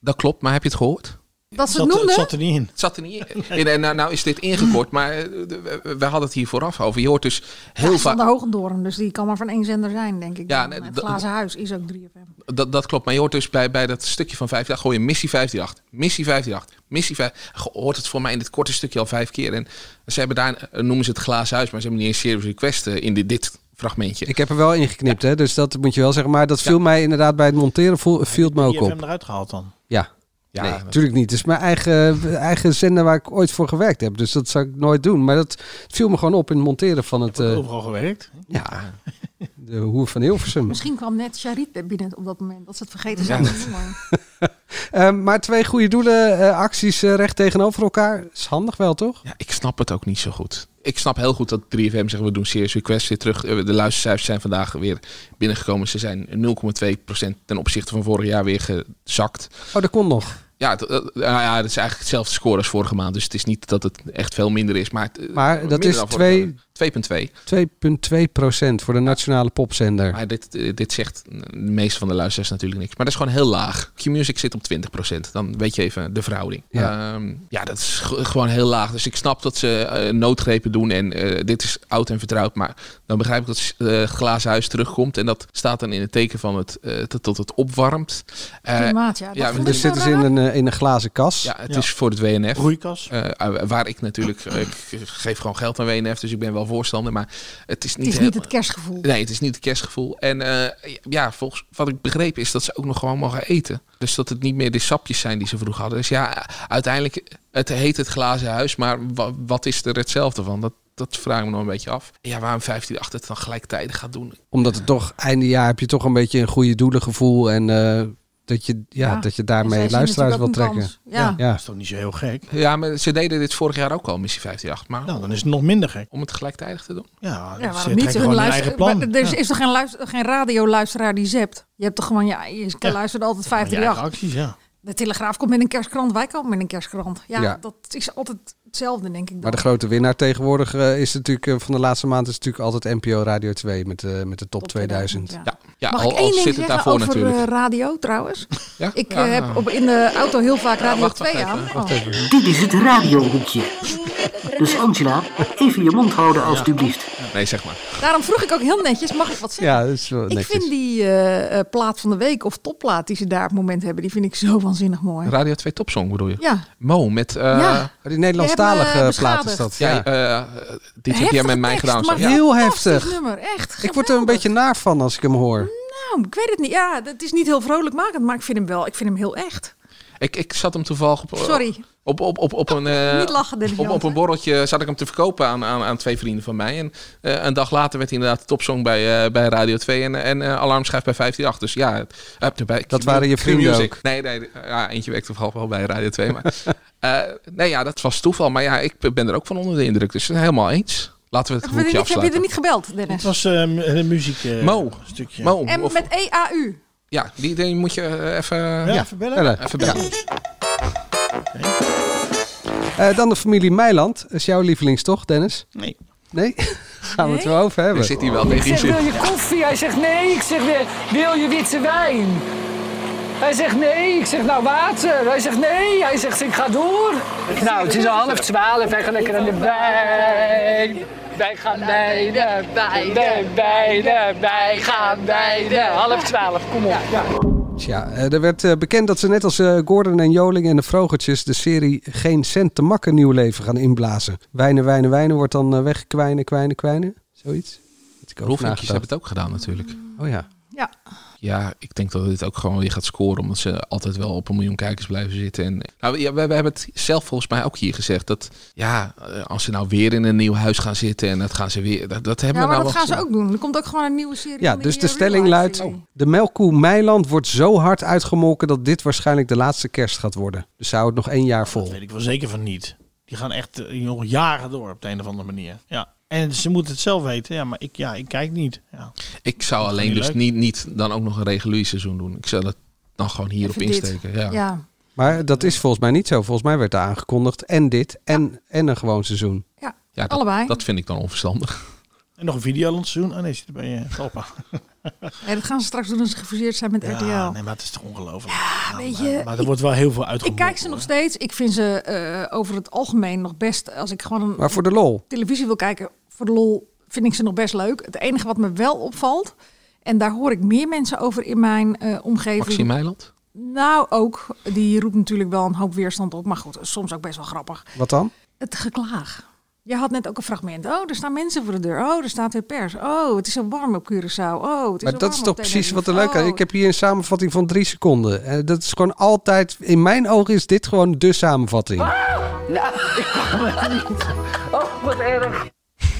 Speaker 9: Dat klopt, maar heb je het gehoord?
Speaker 10: Dat ze het noemden?
Speaker 7: er niet in.
Speaker 9: Het zat er niet in. En, eh, nou, nou is dit ingekort, maar eh, we, we- we hadden het hier vooraf over. Je hoort dus heel
Speaker 10: Heel
Speaker 9: vaak...
Speaker 10: van de Hoogendoorn, dus die kan maar van één zender zijn, denk ik.
Speaker 9: Ja,
Speaker 10: Ja,
Speaker 9: nee,
Speaker 10: het
Speaker 9: dat-
Speaker 10: glazen huis is ook 3FM.
Speaker 9: Dat, dat klopt, maar je hoort dus bij, bij dat stukje van 5 gooi je missie 538, missie 538, missie 5... Je Hoort het voor mij in dit korte stukje al vijf keer. En ze hebben daar, eh, noemen ze het glazen huis, maar ze hebben niet eens serious request eh, in dit, dit fragmentje.
Speaker 8: Ik heb er wel ingeknipt, hè, dus dat moet je wel zeggen. Maar dat viel mij inderdaad bij het monteren voel, viel het me ook
Speaker 7: Die heeft
Speaker 8: op.
Speaker 7: hem eruit gehaald dan.
Speaker 8: Ja.
Speaker 9: Ja,
Speaker 8: nee,
Speaker 9: dat-
Speaker 8: natuurlijk niet. Het is mijn eigen, eh, eigen zender waar ik ooit voor gewerkt heb. Dus dat zou ik nooit doen. Maar dat viel me gewoon op in het monteren van het... eh,
Speaker 7: Overal gewerkt.
Speaker 8: ja, de hoer van Hilversum.
Speaker 10: Misschien kwam net Charit binnen op dat moment, dat ze het vergeten
Speaker 8: Ja,
Speaker 10: zijn. te
Speaker 8: dat-
Speaker 10: noemen.
Speaker 8: Eh, maar twee goede doelen, eh, acties eh, recht tegenover elkaar. Is handig wel, toch?
Speaker 9: Ja, ik snap het ook niet zo goed. Ik snap heel goed dat 3FM zegt, we doen serious request weer terug. Eh, De luistercijfers zijn vandaag weer binnengekomen. Ze zijn 0,2% ten opzichte van vorig jaar weer gezakt.
Speaker 8: Oh, dat kon nog.
Speaker 9: Ja, het, eh, nou ja, dat is eigenlijk hetzelfde score als vorige maand. Dus het is niet dat het echt veel minder is. Maar, het, eh,
Speaker 8: Maar dat
Speaker 9: minder
Speaker 8: is
Speaker 9: dan vorig
Speaker 8: twee-
Speaker 9: jaar. 2,2.
Speaker 8: 2,2 procent voor de nationale popzender.
Speaker 9: Maar dit, eh, dit zegt de meeste van de luisteraars natuurlijk niks. Maar dat is gewoon heel laag. Q-Music zit op 20%. Dan weet je even de verhouding.
Speaker 8: Ja.
Speaker 9: Ehm, ja, dat is ge- gewoon heel laag. Dus ik snap dat ze eh, noodgrepen doen. En eh, dit is oud en vertrouwd. Maar dan begrijp ik dat eh, het glazen huis terugkomt. En dat staat dan in het teken van het, eh, dat dat het opwarmt. Eh,
Speaker 10: Klimaat, ja. Dat vond ik
Speaker 9: we-
Speaker 8: Dus zitten ze in een, eh, in een glazen kas.
Speaker 9: ja, het is voor het WNF.
Speaker 7: Broeikas.
Speaker 9: Eh, eh, waar ik natuurlijk, eh, ik geef gewoon geld aan WNF, dus ik ben wel voorstander. Maar het is
Speaker 10: Het
Speaker 9: niet,
Speaker 10: is niet
Speaker 9: heel-
Speaker 10: het kerstgevoel.
Speaker 9: Nee, het is niet het kerstgevoel. En eh, ja, volgens wat ik begreep is dat ze ook nog gewoon mogen eten. Dus dat het niet meer de sapjes zijn die ze vroeger hadden. Dus ja, uiteindelijk, het heet het glazen huis, maar wa- wat is er hetzelfde van? Dat, dat vraag ik me nog een beetje af. Ja, waarom 15-8 het dan gelijktijdig gaat doen?
Speaker 8: Omdat het toch einde jaar heb je toch een beetje een goede doelengevoel. En eh, dat, je, ja,
Speaker 9: Ja.
Speaker 8: dat
Speaker 10: Dus
Speaker 8: je
Speaker 9: En zij
Speaker 8: daarmee
Speaker 9: zien
Speaker 8: luisteraars wil
Speaker 9: natuurlijk ook een
Speaker 8: trekken.
Speaker 9: kans. Ja.
Speaker 8: Ja.
Speaker 7: Dat is toch niet zo heel gek?
Speaker 9: Ja, maar ze deden dit vorig jaar ook al, missie 15-8. Maar
Speaker 7: Nou, dan is het nog minder gek.
Speaker 9: om het gelijktijdig te doen.
Speaker 7: Ja,
Speaker 10: Ja,
Speaker 7: ze
Speaker 10: waarom niet?
Speaker 7: trekken
Speaker 10: Hun
Speaker 7: gewoon hun
Speaker 10: luister-
Speaker 7: eigen plan.
Speaker 10: maar er is,
Speaker 7: Ja.
Speaker 10: is toch geen, luister, geen radioluisteraar die zept? Je hebt toch gewoon, ja, je luistert altijd
Speaker 7: Maar je eigen
Speaker 10: 538.
Speaker 7: acties, ja.
Speaker 10: De Telegraaf komt met een kerstkrant, wij komen met een kerstkrant. Ja,
Speaker 8: Ja.
Speaker 10: dat is altijd hetzelfde, denk ik. Dan.
Speaker 8: Maar de grote winnaar tegenwoordig eh, is natuurlijk eh, van de laatste maand is natuurlijk altijd NPO Radio 2 met, eh, met de top, 2000.
Speaker 10: ja.
Speaker 9: Ja. Ja,
Speaker 10: Mag
Speaker 9: al-
Speaker 10: ik
Speaker 9: al
Speaker 10: één ding
Speaker 9: zit het
Speaker 10: zeggen
Speaker 9: daarvoor
Speaker 10: over
Speaker 9: natuurlijk.
Speaker 10: eh, radio trouwens?
Speaker 9: Ja? Ah.
Speaker 10: Ik
Speaker 9: Ja.
Speaker 10: eh, heb op, in de auto heel vaak
Speaker 9: Ja,
Speaker 10: Radio
Speaker 9: wacht,
Speaker 10: 2
Speaker 9: wacht
Speaker 10: aan.
Speaker 9: even, wacht
Speaker 10: Oh.
Speaker 9: even.
Speaker 12: Dit is het radiohoekje. Dus Angela, even je mond houden alstublieft.
Speaker 9: Nee, zeg maar.
Speaker 10: Daarom vroeg ik ook heel netjes, mag ik wat zeggen?
Speaker 8: Ja, dat is wel
Speaker 10: ik
Speaker 8: netjes.
Speaker 10: vind die eh, eh, plaat van de week of topplaat die ze daar op het moment hebben, die vind ik zo waanzinnig mooi.
Speaker 9: Radio 2 Topsong bedoel je?
Speaker 10: Ja.
Speaker 9: Mo, met... eh,
Speaker 10: Ja.
Speaker 8: Oh, Die Nederlandstalige
Speaker 10: Je hebt me
Speaker 8: plaat is
Speaker 10: beschadigd.
Speaker 9: Ja,
Speaker 8: dat.
Speaker 9: eh, dit heb jij met mij gedaan.
Speaker 10: maar
Speaker 9: zo. Ja.
Speaker 8: Heel
Speaker 10: fantastisch
Speaker 8: heftig.
Speaker 10: nummer, echt.
Speaker 8: Ik word er een beetje naar van als ik hem hoor.
Speaker 10: Nou, ik weet het niet. Ja, het is niet heel vrolijkmakend, maar ik vind hem wel. Ik vind hem heel echt.
Speaker 9: Ik, ik zat hem toevallig op...
Speaker 10: Sorry.
Speaker 9: Op, op, op, op een, eh,
Speaker 10: Niet lachen, Dennis
Speaker 9: op, op
Speaker 10: Jansen.
Speaker 9: een borreltje zat ik hem te verkopen aan, aan, aan twee vrienden van mij. En eh, een dag later werd hij inderdaad de topsong bij, eh, bij Radio 2 en, en eh, alarmschijf bij 158. Dus ja, het- heb je bij,
Speaker 8: Dat waren je
Speaker 9: Q
Speaker 8: vrienden
Speaker 9: Music.
Speaker 8: ook.
Speaker 9: Nee, nee ja, eentje werkte toevallig wel bij Radio 2. Maar, eh, nee, ja, dat was toeval. Maar ja, ik ben er ook van onder de indruk. Dus helemaal eens. Laten we het
Speaker 10: Heb je,
Speaker 9: hoekje
Speaker 10: niet- heb je
Speaker 9: afsluiten.
Speaker 10: er niet gebeld, Dennis?
Speaker 7: Het was eh, mu- een muziek eh,
Speaker 9: Mo.
Speaker 7: stukje.
Speaker 9: Mo,
Speaker 10: en
Speaker 9: of-
Speaker 10: met E EAU.
Speaker 9: ja, die, die moet je eh, even...
Speaker 7: Ja, even bellen.
Speaker 9: Even bellen.
Speaker 8: Eh, dan de familie Meiland. Is jouw lievelings toch, Dennis?
Speaker 7: Nee.
Speaker 8: Nee? Gaan we het wel over hebben.
Speaker 9: Er zit hier wel
Speaker 14: Ik
Speaker 9: tegen
Speaker 14: zeg,
Speaker 9: iets in.
Speaker 14: wil je koffie? Hij zegt nee. Ik zeg, wil- wil je witte wijn? Hij zegt nee. Ik zeg, nou water. Hij zegt nee. Hij zegt, ik ga door. Nou, het is al half twaalf. Wij gaan lekker naar de wijn. Wij gaan bij de wijn. Bij, bij de wijn. Gaan bij de half twaalf. Kom op.
Speaker 8: Tja, eh, er werd eh, bekend dat ze net als eh, Gordon en Joling en de Vrogertjes de serie Geen Cent te Makken nieuw leven gaan inblazen. Wijnen, wijnen, wijnen wordt dan eh, wegkwijnen, kwijnen, kwijnen. Zoiets. Had ik over
Speaker 9: Roelvinkjes
Speaker 8: nagedacht.
Speaker 9: hebben het ook gedaan natuurlijk.
Speaker 8: Oh ja.
Speaker 10: Ja.
Speaker 9: Ja, ik denk dat dit ook gewoon weer gaat scoren. Omdat ze altijd wel op een miljoen kijkers blijven zitten. En, nou, ja, we, we hebben het zelf volgens mij ook hier gezegd. Dat ja, eh, als ze nou weer in een nieuw huis gaan zitten. En dat gaan ze weer. Dat, dat
Speaker 10: Ja,
Speaker 9: hebben
Speaker 10: maar
Speaker 9: we nou wel
Speaker 10: dat gaan ze
Speaker 9: gezien.
Speaker 10: ook doen. Er komt ook gewoon een nieuwe serie.
Speaker 8: Ja,
Speaker 10: van
Speaker 8: dus
Speaker 10: die,
Speaker 8: de
Speaker 10: eh,
Speaker 8: stelling
Speaker 10: real life
Speaker 8: luidt:
Speaker 9: Oh,
Speaker 10: serie.
Speaker 8: de melkkoe Meiland wordt zo hard uitgemolken dat dit waarschijnlijk de laatste kerst gaat worden. Dus zou het nog één jaar vol.
Speaker 7: Weet ik wel zeker van niet. Die gaan echt eh, nog jaren door op de een of andere manier. Ja. En ze moeten het zelf weten. Ja, maar ik, ja, ik kijk niet. Ja.
Speaker 9: Ik zou alleen
Speaker 7: niet
Speaker 9: dus
Speaker 7: leuk.
Speaker 9: niet, niet dan ook nog een regulier seizoen doen. Ik zou dat dan gewoon hierop
Speaker 10: Even dit.
Speaker 9: insteken. Ja.
Speaker 10: Ja.
Speaker 8: Maar dat is volgens mij niet zo. Volgens mij werd er aangekondigd en dit en, en een gewoon seizoen.
Speaker 10: Ja,
Speaker 9: Ja, dat,
Speaker 10: allebei.
Speaker 9: Dat vind ik dan onverstandig.
Speaker 7: En nog een video seizoen. Ah nee, zit er bij je Talpa.
Speaker 10: Nee, dat gaan ze straks doen als ze gefuseerd zijn met RTL.
Speaker 7: Ja, nee, maar het is toch ongelooflijk. Ja,
Speaker 10: Ah, weet
Speaker 7: maar-
Speaker 10: je,
Speaker 7: maar er
Speaker 10: ik-
Speaker 7: wordt wel heel veel
Speaker 10: ik
Speaker 7: uitgemolken.
Speaker 10: kijk ze nog steeds. Ik vind ze eh, over het algemeen nog best. Als ik gewoon een
Speaker 8: Maar voor de lol.
Speaker 10: televisie wil kijken, voor de lol, vind ik ze nog best leuk. Het enige wat me wel opvalt, en daar hoor ik meer mensen over in mijn eh, omgeving.
Speaker 9: Maxime Meiland?
Speaker 10: Nou, ook. Die roept natuurlijk wel een hoop weerstand op. Maar goed, soms ook best wel grappig.
Speaker 8: Wat dan?
Speaker 10: Het geklaag. Jij had net ook een fragment. Oh, er staan mensen voor de deur. Oh, er staat weer pers. Oh, het is zo warm op Curaçao. Oh, het is
Speaker 8: Maar
Speaker 10: zo
Speaker 8: dat
Speaker 10: warm
Speaker 8: is
Speaker 10: op
Speaker 8: toch precies
Speaker 10: Tenerife.
Speaker 8: wat er leuk aan.
Speaker 10: Oh,
Speaker 8: Ik heb hier een samenvatting van drie seconden. Eh, dat is gewoon altijd, in mijn ogen is dit gewoon de samenvatting.
Speaker 14: Nou, ik kan het niet. Oh, wat erg.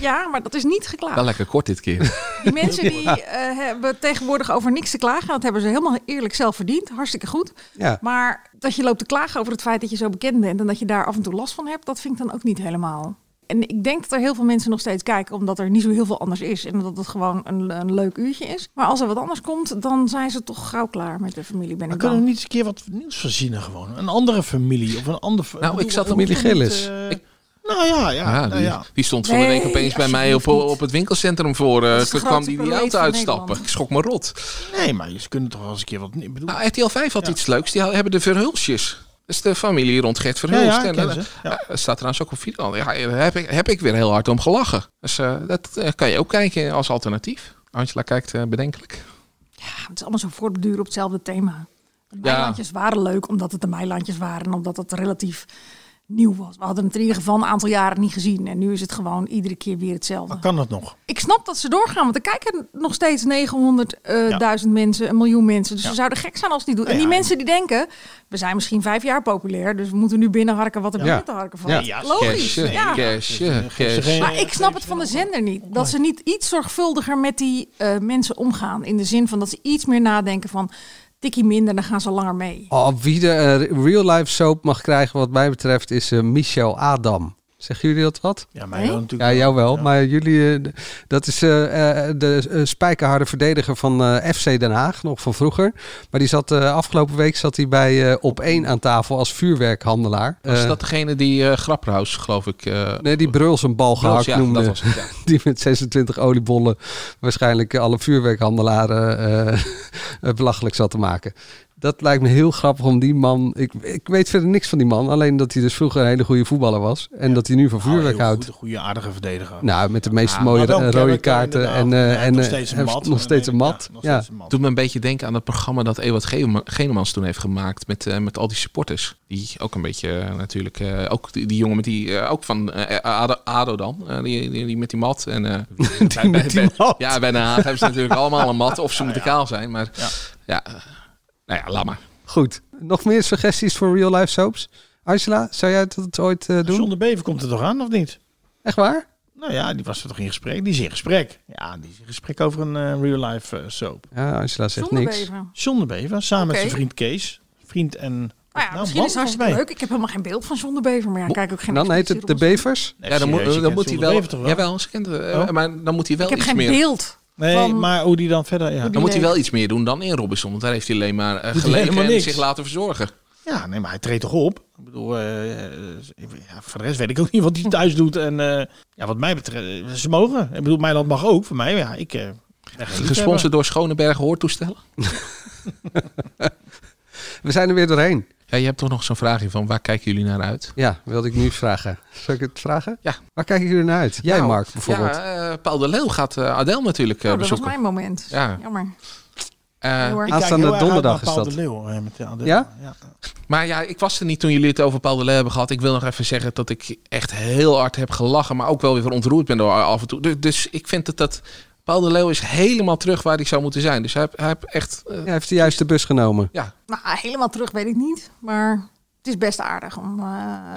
Speaker 10: Ja, maar dat is niet geklaagd.
Speaker 9: Wel lekker kort dit keer.
Speaker 10: Die mensen die eh, hebben tegenwoordig over niks te klagen. Dat hebben ze helemaal eerlijk zelf verdiend. Hartstikke goed.
Speaker 8: Ja.
Speaker 10: Maar dat je loopt te klagen over het feit dat je zo bekend bent en dat je daar af en toe last van hebt, dat vind ik dan ook niet helemaal. En ik denk dat er heel veel mensen nog steeds kijken omdat er niet zo heel veel anders is. En omdat het gewoon een, een leuk uurtje is. Maar als er wat anders komt, dan zijn ze toch gauw klaar met de familie, ben
Speaker 7: Maar
Speaker 10: ik
Speaker 7: kunnen we
Speaker 10: bang.
Speaker 7: niet eens een keer wat nieuws voorzien gewoon? Een andere familie of een ander...
Speaker 9: Nou, ik zat op-
Speaker 7: familie
Speaker 9: Familie Gillis.
Speaker 7: Nou ja, ja.
Speaker 9: Ja,
Speaker 7: nou
Speaker 9: die,
Speaker 7: ja.
Speaker 9: die stond van de
Speaker 7: Nee,
Speaker 9: week opeens bij mij op,
Speaker 7: alsjeblieft
Speaker 9: op het winkelcentrum voor. eh,
Speaker 7: Dat is de
Speaker 9: toen kwam
Speaker 7: grootste
Speaker 9: die, die
Speaker 7: planeet
Speaker 9: auto
Speaker 7: van
Speaker 9: uitstappen.
Speaker 7: Nederland.
Speaker 9: Ik schrok me rot.
Speaker 7: Nee, maar je kunt toch wel eens een keer wat... Ik bedoel,
Speaker 9: Nou, RTL 5 had iets leuks. Die hebben de Verhulsjes. Dat is de familie rond Gert Verhulst.
Speaker 7: Ja, ja, ik
Speaker 9: en,
Speaker 7: ken
Speaker 9: eh,
Speaker 7: ze,
Speaker 9: eh, dat staat trouwens ook op video. Ja, eh, daar heb, ik, heb ik weer heel hard om gelachen. Dus eh, dat eh, kan je ook kijken als alternatief. Angela kijkt eh, bedenkelijk.
Speaker 10: Ja, het is allemaal zo voortbeduren op hetzelfde thema. De Meilandjes waren leuk omdat het de Meilandjes waren en omdat het relatief nieuw was. We hadden het in ieder geval een aantal jaren niet gezien. En nu is het gewoon iedere keer weer hetzelfde.
Speaker 7: kan dat nog?
Speaker 10: Ik snap dat ze doorgaan, want er kijken nog steeds 900.000 mensen, een miljoen mensen. Dus
Speaker 7: Ja.
Speaker 10: ze zouden gek zijn als ze het niet doen.
Speaker 7: Nou
Speaker 10: en die
Speaker 7: ja,
Speaker 10: mensen die denken, we zijn misschien vijf jaar populair, dus we moeten nu binnenharken wat er
Speaker 9: Ja.
Speaker 10: binnen te harken valt.
Speaker 9: Ja.
Speaker 10: Logisch.
Speaker 9: Cashen,
Speaker 10: ja.
Speaker 9: cashen, cashen.
Speaker 10: Maar ik snap het van de zender niet. Dat ze niet iets zorgvuldiger met die eh, mensen omgaan. In de zin van dat ze iets meer nadenken van tikkie minder, dan gaan ze langer mee.
Speaker 8: Oh, wie de eh, real life soap mag krijgen wat mij betreft is eh, Michel Adam. Zeggen jullie dat wat?
Speaker 7: Ja, mij wel Nee? natuurlijk wel.
Speaker 8: Ja, jou wel. Maar jullie, eh, d- dat is eh, eh, de eh, spijkerharde verdediger van eh, FC Den Haag, nog van vroeger. Maar die zat eh, afgelopen week zat hij bij eh, Op 1 aan tafel als vuurwerkhandelaar.
Speaker 9: Was
Speaker 8: Eh,
Speaker 9: dat degene die eh Grapperhaus, geloof ik... eh,
Speaker 8: Nee, die Bruls een bal
Speaker 9: Bruls,
Speaker 8: gehakt
Speaker 9: ja,
Speaker 8: noemde.
Speaker 9: dat was het, ja.
Speaker 8: Die met 26 oliebollen waarschijnlijk eh, alle vuurwerkhandelaren eh, eh, belachelijk zat te maken. Dat lijkt me heel grappig om die man... Ik, ik weet verder niks van die man. Alleen dat hij dus vroeger een hele goede voetballer was. En dat hij nu van vuurwerk houdt.
Speaker 7: Een goede aardige verdediger.
Speaker 8: Nou, met de meest
Speaker 7: Ah, Ja,
Speaker 8: mooie
Speaker 7: maar wel
Speaker 8: eh,
Speaker 7: kenmerken
Speaker 8: rode kaarten.
Speaker 7: inderdaad.
Speaker 8: En,
Speaker 7: Ja, hij
Speaker 8: eh, en
Speaker 7: heeft nog
Speaker 8: eh,
Speaker 7: steeds een
Speaker 8: heeft
Speaker 7: mat.
Speaker 8: nog steeds een mat. Ja.
Speaker 9: Doet me een beetje denken aan het programma dat Ewart Geelma- Geneman toen heeft gemaakt met, eh, met al die supporters. Die ook een beetje eh, natuurlijk, eh, ook die, die jongen met die, eh, ook van eh, Ado, Ado dan, eh, die, die, die met die mat. En, eh, bij- bij- bij- Ja, bij Den Haag hebben ze natuurlijk allemaal een mat of ze moeten kaal zijn. Maar ja, eh, nou ja, laat maar.
Speaker 8: Goed. Nog meer suggesties voor real life soaps? Angela, zou jij dat ooit eh, doen?
Speaker 7: Zonder Beven komt er toch aan, of niet?
Speaker 8: Echt waar?
Speaker 7: Nou ja, die was er toch in gesprek? Die is in gesprek. Ja, die is in gesprek over een eh, real-life soap.
Speaker 8: Ja, Angela zegt
Speaker 10: Zonder niks. Beven.
Speaker 7: Zonder Beven, samen
Speaker 10: Oké.
Speaker 7: met zijn vriend Kees. Vriend en... Nou,
Speaker 10: Nou ja, misschien
Speaker 7: man
Speaker 10: is het hartstikke
Speaker 7: volgens mij.
Speaker 10: leuk. Ik heb helemaal geen beeld van John de Bever, maar ja, ik kijk ook geen
Speaker 8: Dan heet
Speaker 10: expositie
Speaker 8: het De
Speaker 10: rond.
Speaker 8: Bevers.
Speaker 7: Nee,
Speaker 9: ja, dan
Speaker 7: serieus, je
Speaker 9: moet, dan
Speaker 7: kent
Speaker 9: moet hij
Speaker 7: Zonder
Speaker 9: wel,
Speaker 7: Beven toch wel?
Speaker 9: jawel, ze kent, eh,
Speaker 7: Oh.
Speaker 9: maar dan moet hij wel
Speaker 10: Ik heb
Speaker 9: iets
Speaker 10: geen
Speaker 9: meer.
Speaker 10: beeld. Oh,
Speaker 7: Nee,
Speaker 10: van-
Speaker 7: maar hoe die dan verder... Ja.
Speaker 9: Dan moet hij wel iets meer doen dan in Robinson, want daar heeft hij alleen maar eh,
Speaker 7: hij
Speaker 9: gelegen
Speaker 7: helemaal
Speaker 9: en
Speaker 7: niks.
Speaker 9: zich laten verzorgen.
Speaker 7: Ja, nee, maar hij treedt toch op? Ik bedoel, eh, eh, ja, voor de rest weet ik ook niet wat hij thuis doet. En eh, ja, wat mij betreft, eh, ze mogen. Ik bedoel, mijn land mag ook. Voor mij, ja, ik... eh, ben geen liefhebber.
Speaker 9: Gesponsord door Schoneberg Hoortoestellen.
Speaker 8: We zijn er weer doorheen.
Speaker 9: Ja, je hebt toch nog zo'n vraagje van waar kijken jullie naar uit?
Speaker 8: Ja, wilde ik nu vragen. Zal ik het vragen?
Speaker 9: Ja.
Speaker 8: Waar kijken jullie naar uit? Jij,
Speaker 9: Nou,
Speaker 8: Mark, bijvoorbeeld.
Speaker 9: Ja, eh, Paul de Leeuw gaat eh Adele natuurlijk eh,
Speaker 10: Oh, dat was
Speaker 9: bezoeken.
Speaker 10: mijn moment.
Speaker 9: Ja.
Speaker 10: Jammer.
Speaker 9: Eh,
Speaker 10: Heel erg.
Speaker 7: Ik kijk
Speaker 8: Aanstaande
Speaker 7: heel erg uit
Speaker 8: donderdag
Speaker 7: naar
Speaker 8: is
Speaker 7: Paul
Speaker 8: dat.
Speaker 7: de Leeuw, eh, met de Adele.
Speaker 8: Ja?
Speaker 9: Maar ja, ik was er niet toen jullie het over Paul de Leeuw hebben gehad. Ik wil nog even zeggen dat ik echt heel hard heb gelachen, maar ook wel weer ontroerd ben door af en toe. Dus, dus ik vind dat dat... Paul de Leeuw is helemaal terug waar hij zou moeten zijn. Dus hij, hij heeft echt... eh,
Speaker 8: Ja, heeft de juiste bus genomen.
Speaker 9: ja.
Speaker 10: Nou, helemaal terug weet ik niet, maar het is best aardig om... eh,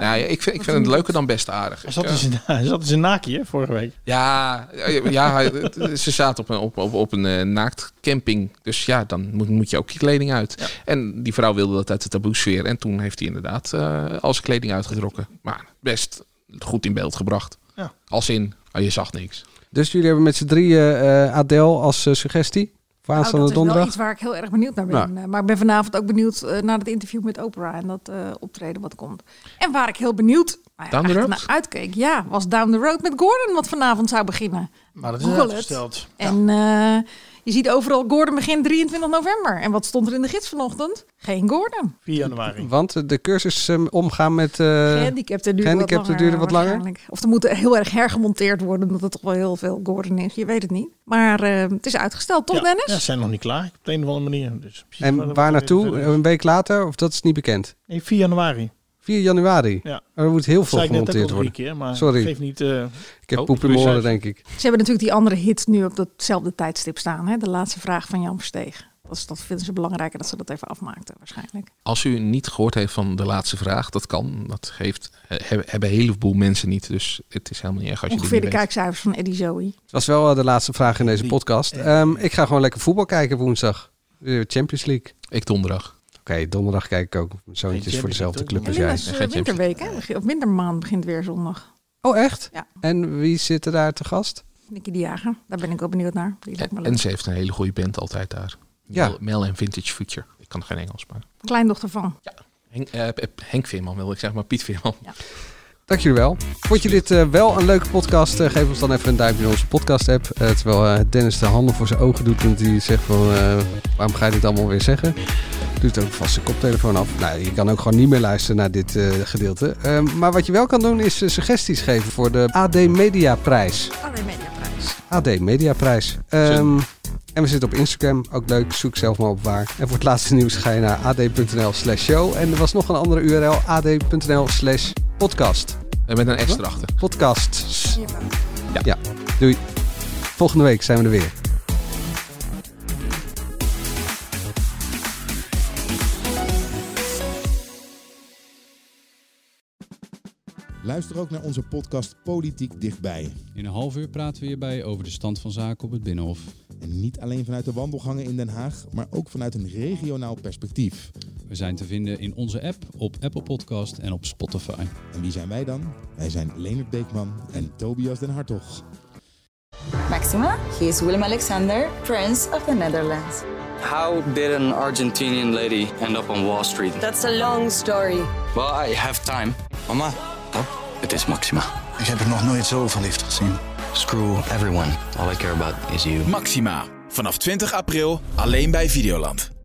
Speaker 9: Nou, Ja, ik vind, ik vind het leuker dan best aardig.
Speaker 7: Hij
Speaker 9: Ik,
Speaker 7: zat
Speaker 9: eh,
Speaker 7: in zijn- Hij zat in zijn naakje, hè, vorige week.
Speaker 9: Ja, eh, ja hij- ze zaten op een, op, op, op een eh, naaktcamping. Dus ja, dan moet, moet je ook je kleding uit. En die vrouw wilde dat uit de taboesfeer. En toen heeft hij inderdaad eh al zijn kleding uitgetrokken. Maar best goed in beeld gebracht.
Speaker 7: Ja.
Speaker 9: Als in, oh, je zag niks.
Speaker 8: Dus jullie hebben met z'n drieën eh Adele als eh, suggestie voor
Speaker 10: nou,
Speaker 8: aanstaande
Speaker 10: dat is wel
Speaker 8: donderdag.
Speaker 10: iets waar ik heel erg benieuwd naar ben.
Speaker 8: Nou.
Speaker 10: Eh, Maar ik ben vanavond ook benieuwd eh, naar het interview met Oprah en dat eh, optreden wat komt. En waar ik heel benieuwd nou ja,
Speaker 9: Down the
Speaker 10: echt
Speaker 9: road?
Speaker 10: naar uitkeek, ja, was Down the Road met Gordon wat vanavond zou beginnen.
Speaker 7: Maar dat is
Speaker 10: Google het.
Speaker 7: uitgesteld.
Speaker 10: En eh, je ziet overal Gordon begin 23 november. En wat stond er in de gids vanochtend? Geen Gordon.
Speaker 7: 4 januari.
Speaker 8: Want eh, de cursus eh, omgaan met eh
Speaker 10: Gehandicapten duurde wat
Speaker 8: gehandicapten
Speaker 10: langer.
Speaker 8: duurde wat langer.
Speaker 10: waarschijnlijk. Of er moet heel erg hergemonteerd worden, omdat het toch wel heel veel Gordon is. Je weet het niet. Maar eh, het is uitgesteld, toch
Speaker 7: ja.
Speaker 10: Dennis?
Speaker 7: Ja, ze zijn nog niet klaar, op de een of andere manier. Dus precies
Speaker 8: En waar naartoe?
Speaker 7: weer-
Speaker 8: Een week later? Of dat is niet bekend?
Speaker 7: Nee, 4 januari.
Speaker 8: 4 januari. Oh,
Speaker 7: Ja.
Speaker 8: Er moet heel
Speaker 7: Dat
Speaker 8: veel
Speaker 7: zei ik net ook al
Speaker 8: gemonteerd
Speaker 7: drie
Speaker 8: worden.
Speaker 7: keer, maar
Speaker 8: Sorry,
Speaker 7: geef niet... eh,
Speaker 8: ik heb
Speaker 7: Oh,
Speaker 8: poep in
Speaker 7: doe
Speaker 8: mijn
Speaker 7: je
Speaker 8: oren,
Speaker 7: zelf.
Speaker 8: denk ik.
Speaker 10: Ze hebben natuurlijk die andere hits nu op datzelfde tijdstip staan. Hè? De laatste vraag van Jan Versteeg. Dat, is, dat vinden ze belangrijker dat ze dat even afmaakten waarschijnlijk.
Speaker 9: Als u niet gehoord heeft van de laatste vraag, dat kan. Dat heeft, eh, hebben hebben een heleboel mensen niet. Dus het is helemaal niet erg als je dit
Speaker 10: Ongeveer
Speaker 9: niet
Speaker 10: de
Speaker 9: weet.
Speaker 10: kijkcijfers van Eddie Zoe.
Speaker 8: Het was wel eh, de laatste vraag in deze podcast. Ehm, ik ga gewoon lekker voetbal kijken woensdag. Eh, Champions League.
Speaker 9: Ik donderdag.
Speaker 8: Oké, donderdag kijk ik ook. Mijn zoontje is voor
Speaker 9: Champions
Speaker 8: dezelfde club
Speaker 10: En
Speaker 8: als
Speaker 10: nu
Speaker 8: jij.
Speaker 10: is eh, winterweek, hè? Begin- Of wintermaand begint weer zondag.
Speaker 8: Oh, echt?
Speaker 10: Ja.
Speaker 8: En wie zit er daar te gast?
Speaker 10: Nicky de Jager, daar ben ik ook benieuwd naar. Die lijkt me leuk.
Speaker 9: En ze heeft een hele goede band altijd daar.
Speaker 8: Ja.
Speaker 9: Mel- Mel en Vintage Future. Ik kan geen Engels, maar...
Speaker 10: Kleindochter van.
Speaker 9: Henk, eh, Henk Veerman wil ik zeggen, maar Piet Veerman.
Speaker 8: Dank jullie wel. Vond je dit eh, wel een leuke podcast? Eh, geef ons dan even een duimpje in onze podcast-app. Eh, terwijl eh, Dennis de handen voor zijn ogen doet. Want die zegt van, eh, waarom ga je dit allemaal weer zeggen? Doet ook vast zijn koptelefoon af. Nou, je kan ook gewoon niet meer luisteren naar dit eh, gedeelte. Eh, maar wat je wel kan doen is eh, suggesties geven voor de AD Media Prijs.
Speaker 10: Allee, Mediaprijs.
Speaker 8: AD Mediaprijs. Ehm en we zitten op Instagram, ook leuk. Zoek zelf maar op waar. En voor het laatste nieuws ga je naar ad.nl slash show. En er was nog een andere URL, ad.nl slash podcast.
Speaker 9: En Eh, met een S erachter.
Speaker 8: Podcasts. Ja. ja, doei. Volgende week zijn we er weer.
Speaker 17: Luister ook naar onze podcast Politiek Dichtbij.
Speaker 18: In een half uur praten we hierbij over de stand van zaken op het Binnenhof.
Speaker 17: En niet alleen vanuit de wandelgangen in Den Haag, maar ook vanuit een regionaal perspectief.
Speaker 19: We zijn te vinden in onze app, op Apple Podcast en op Spotify.
Speaker 15: En wie zijn wij dan? Wij zijn Leonard Beekman en Tobias den Hartog.
Speaker 1: Maxima, he is Willem Alexander, Prince of the Netherlands.
Speaker 2: How did an Argentinian lady end up on Wall Street?
Speaker 3: That's a long story.
Speaker 2: Well, I have time. Mama, pap, het is Maxima. Ik heb er nog nooit zoveel liefde gezien. Screw everyone. All I care about is you.
Speaker 20: Maxima, vanaf 20 april alleen bij Videoland.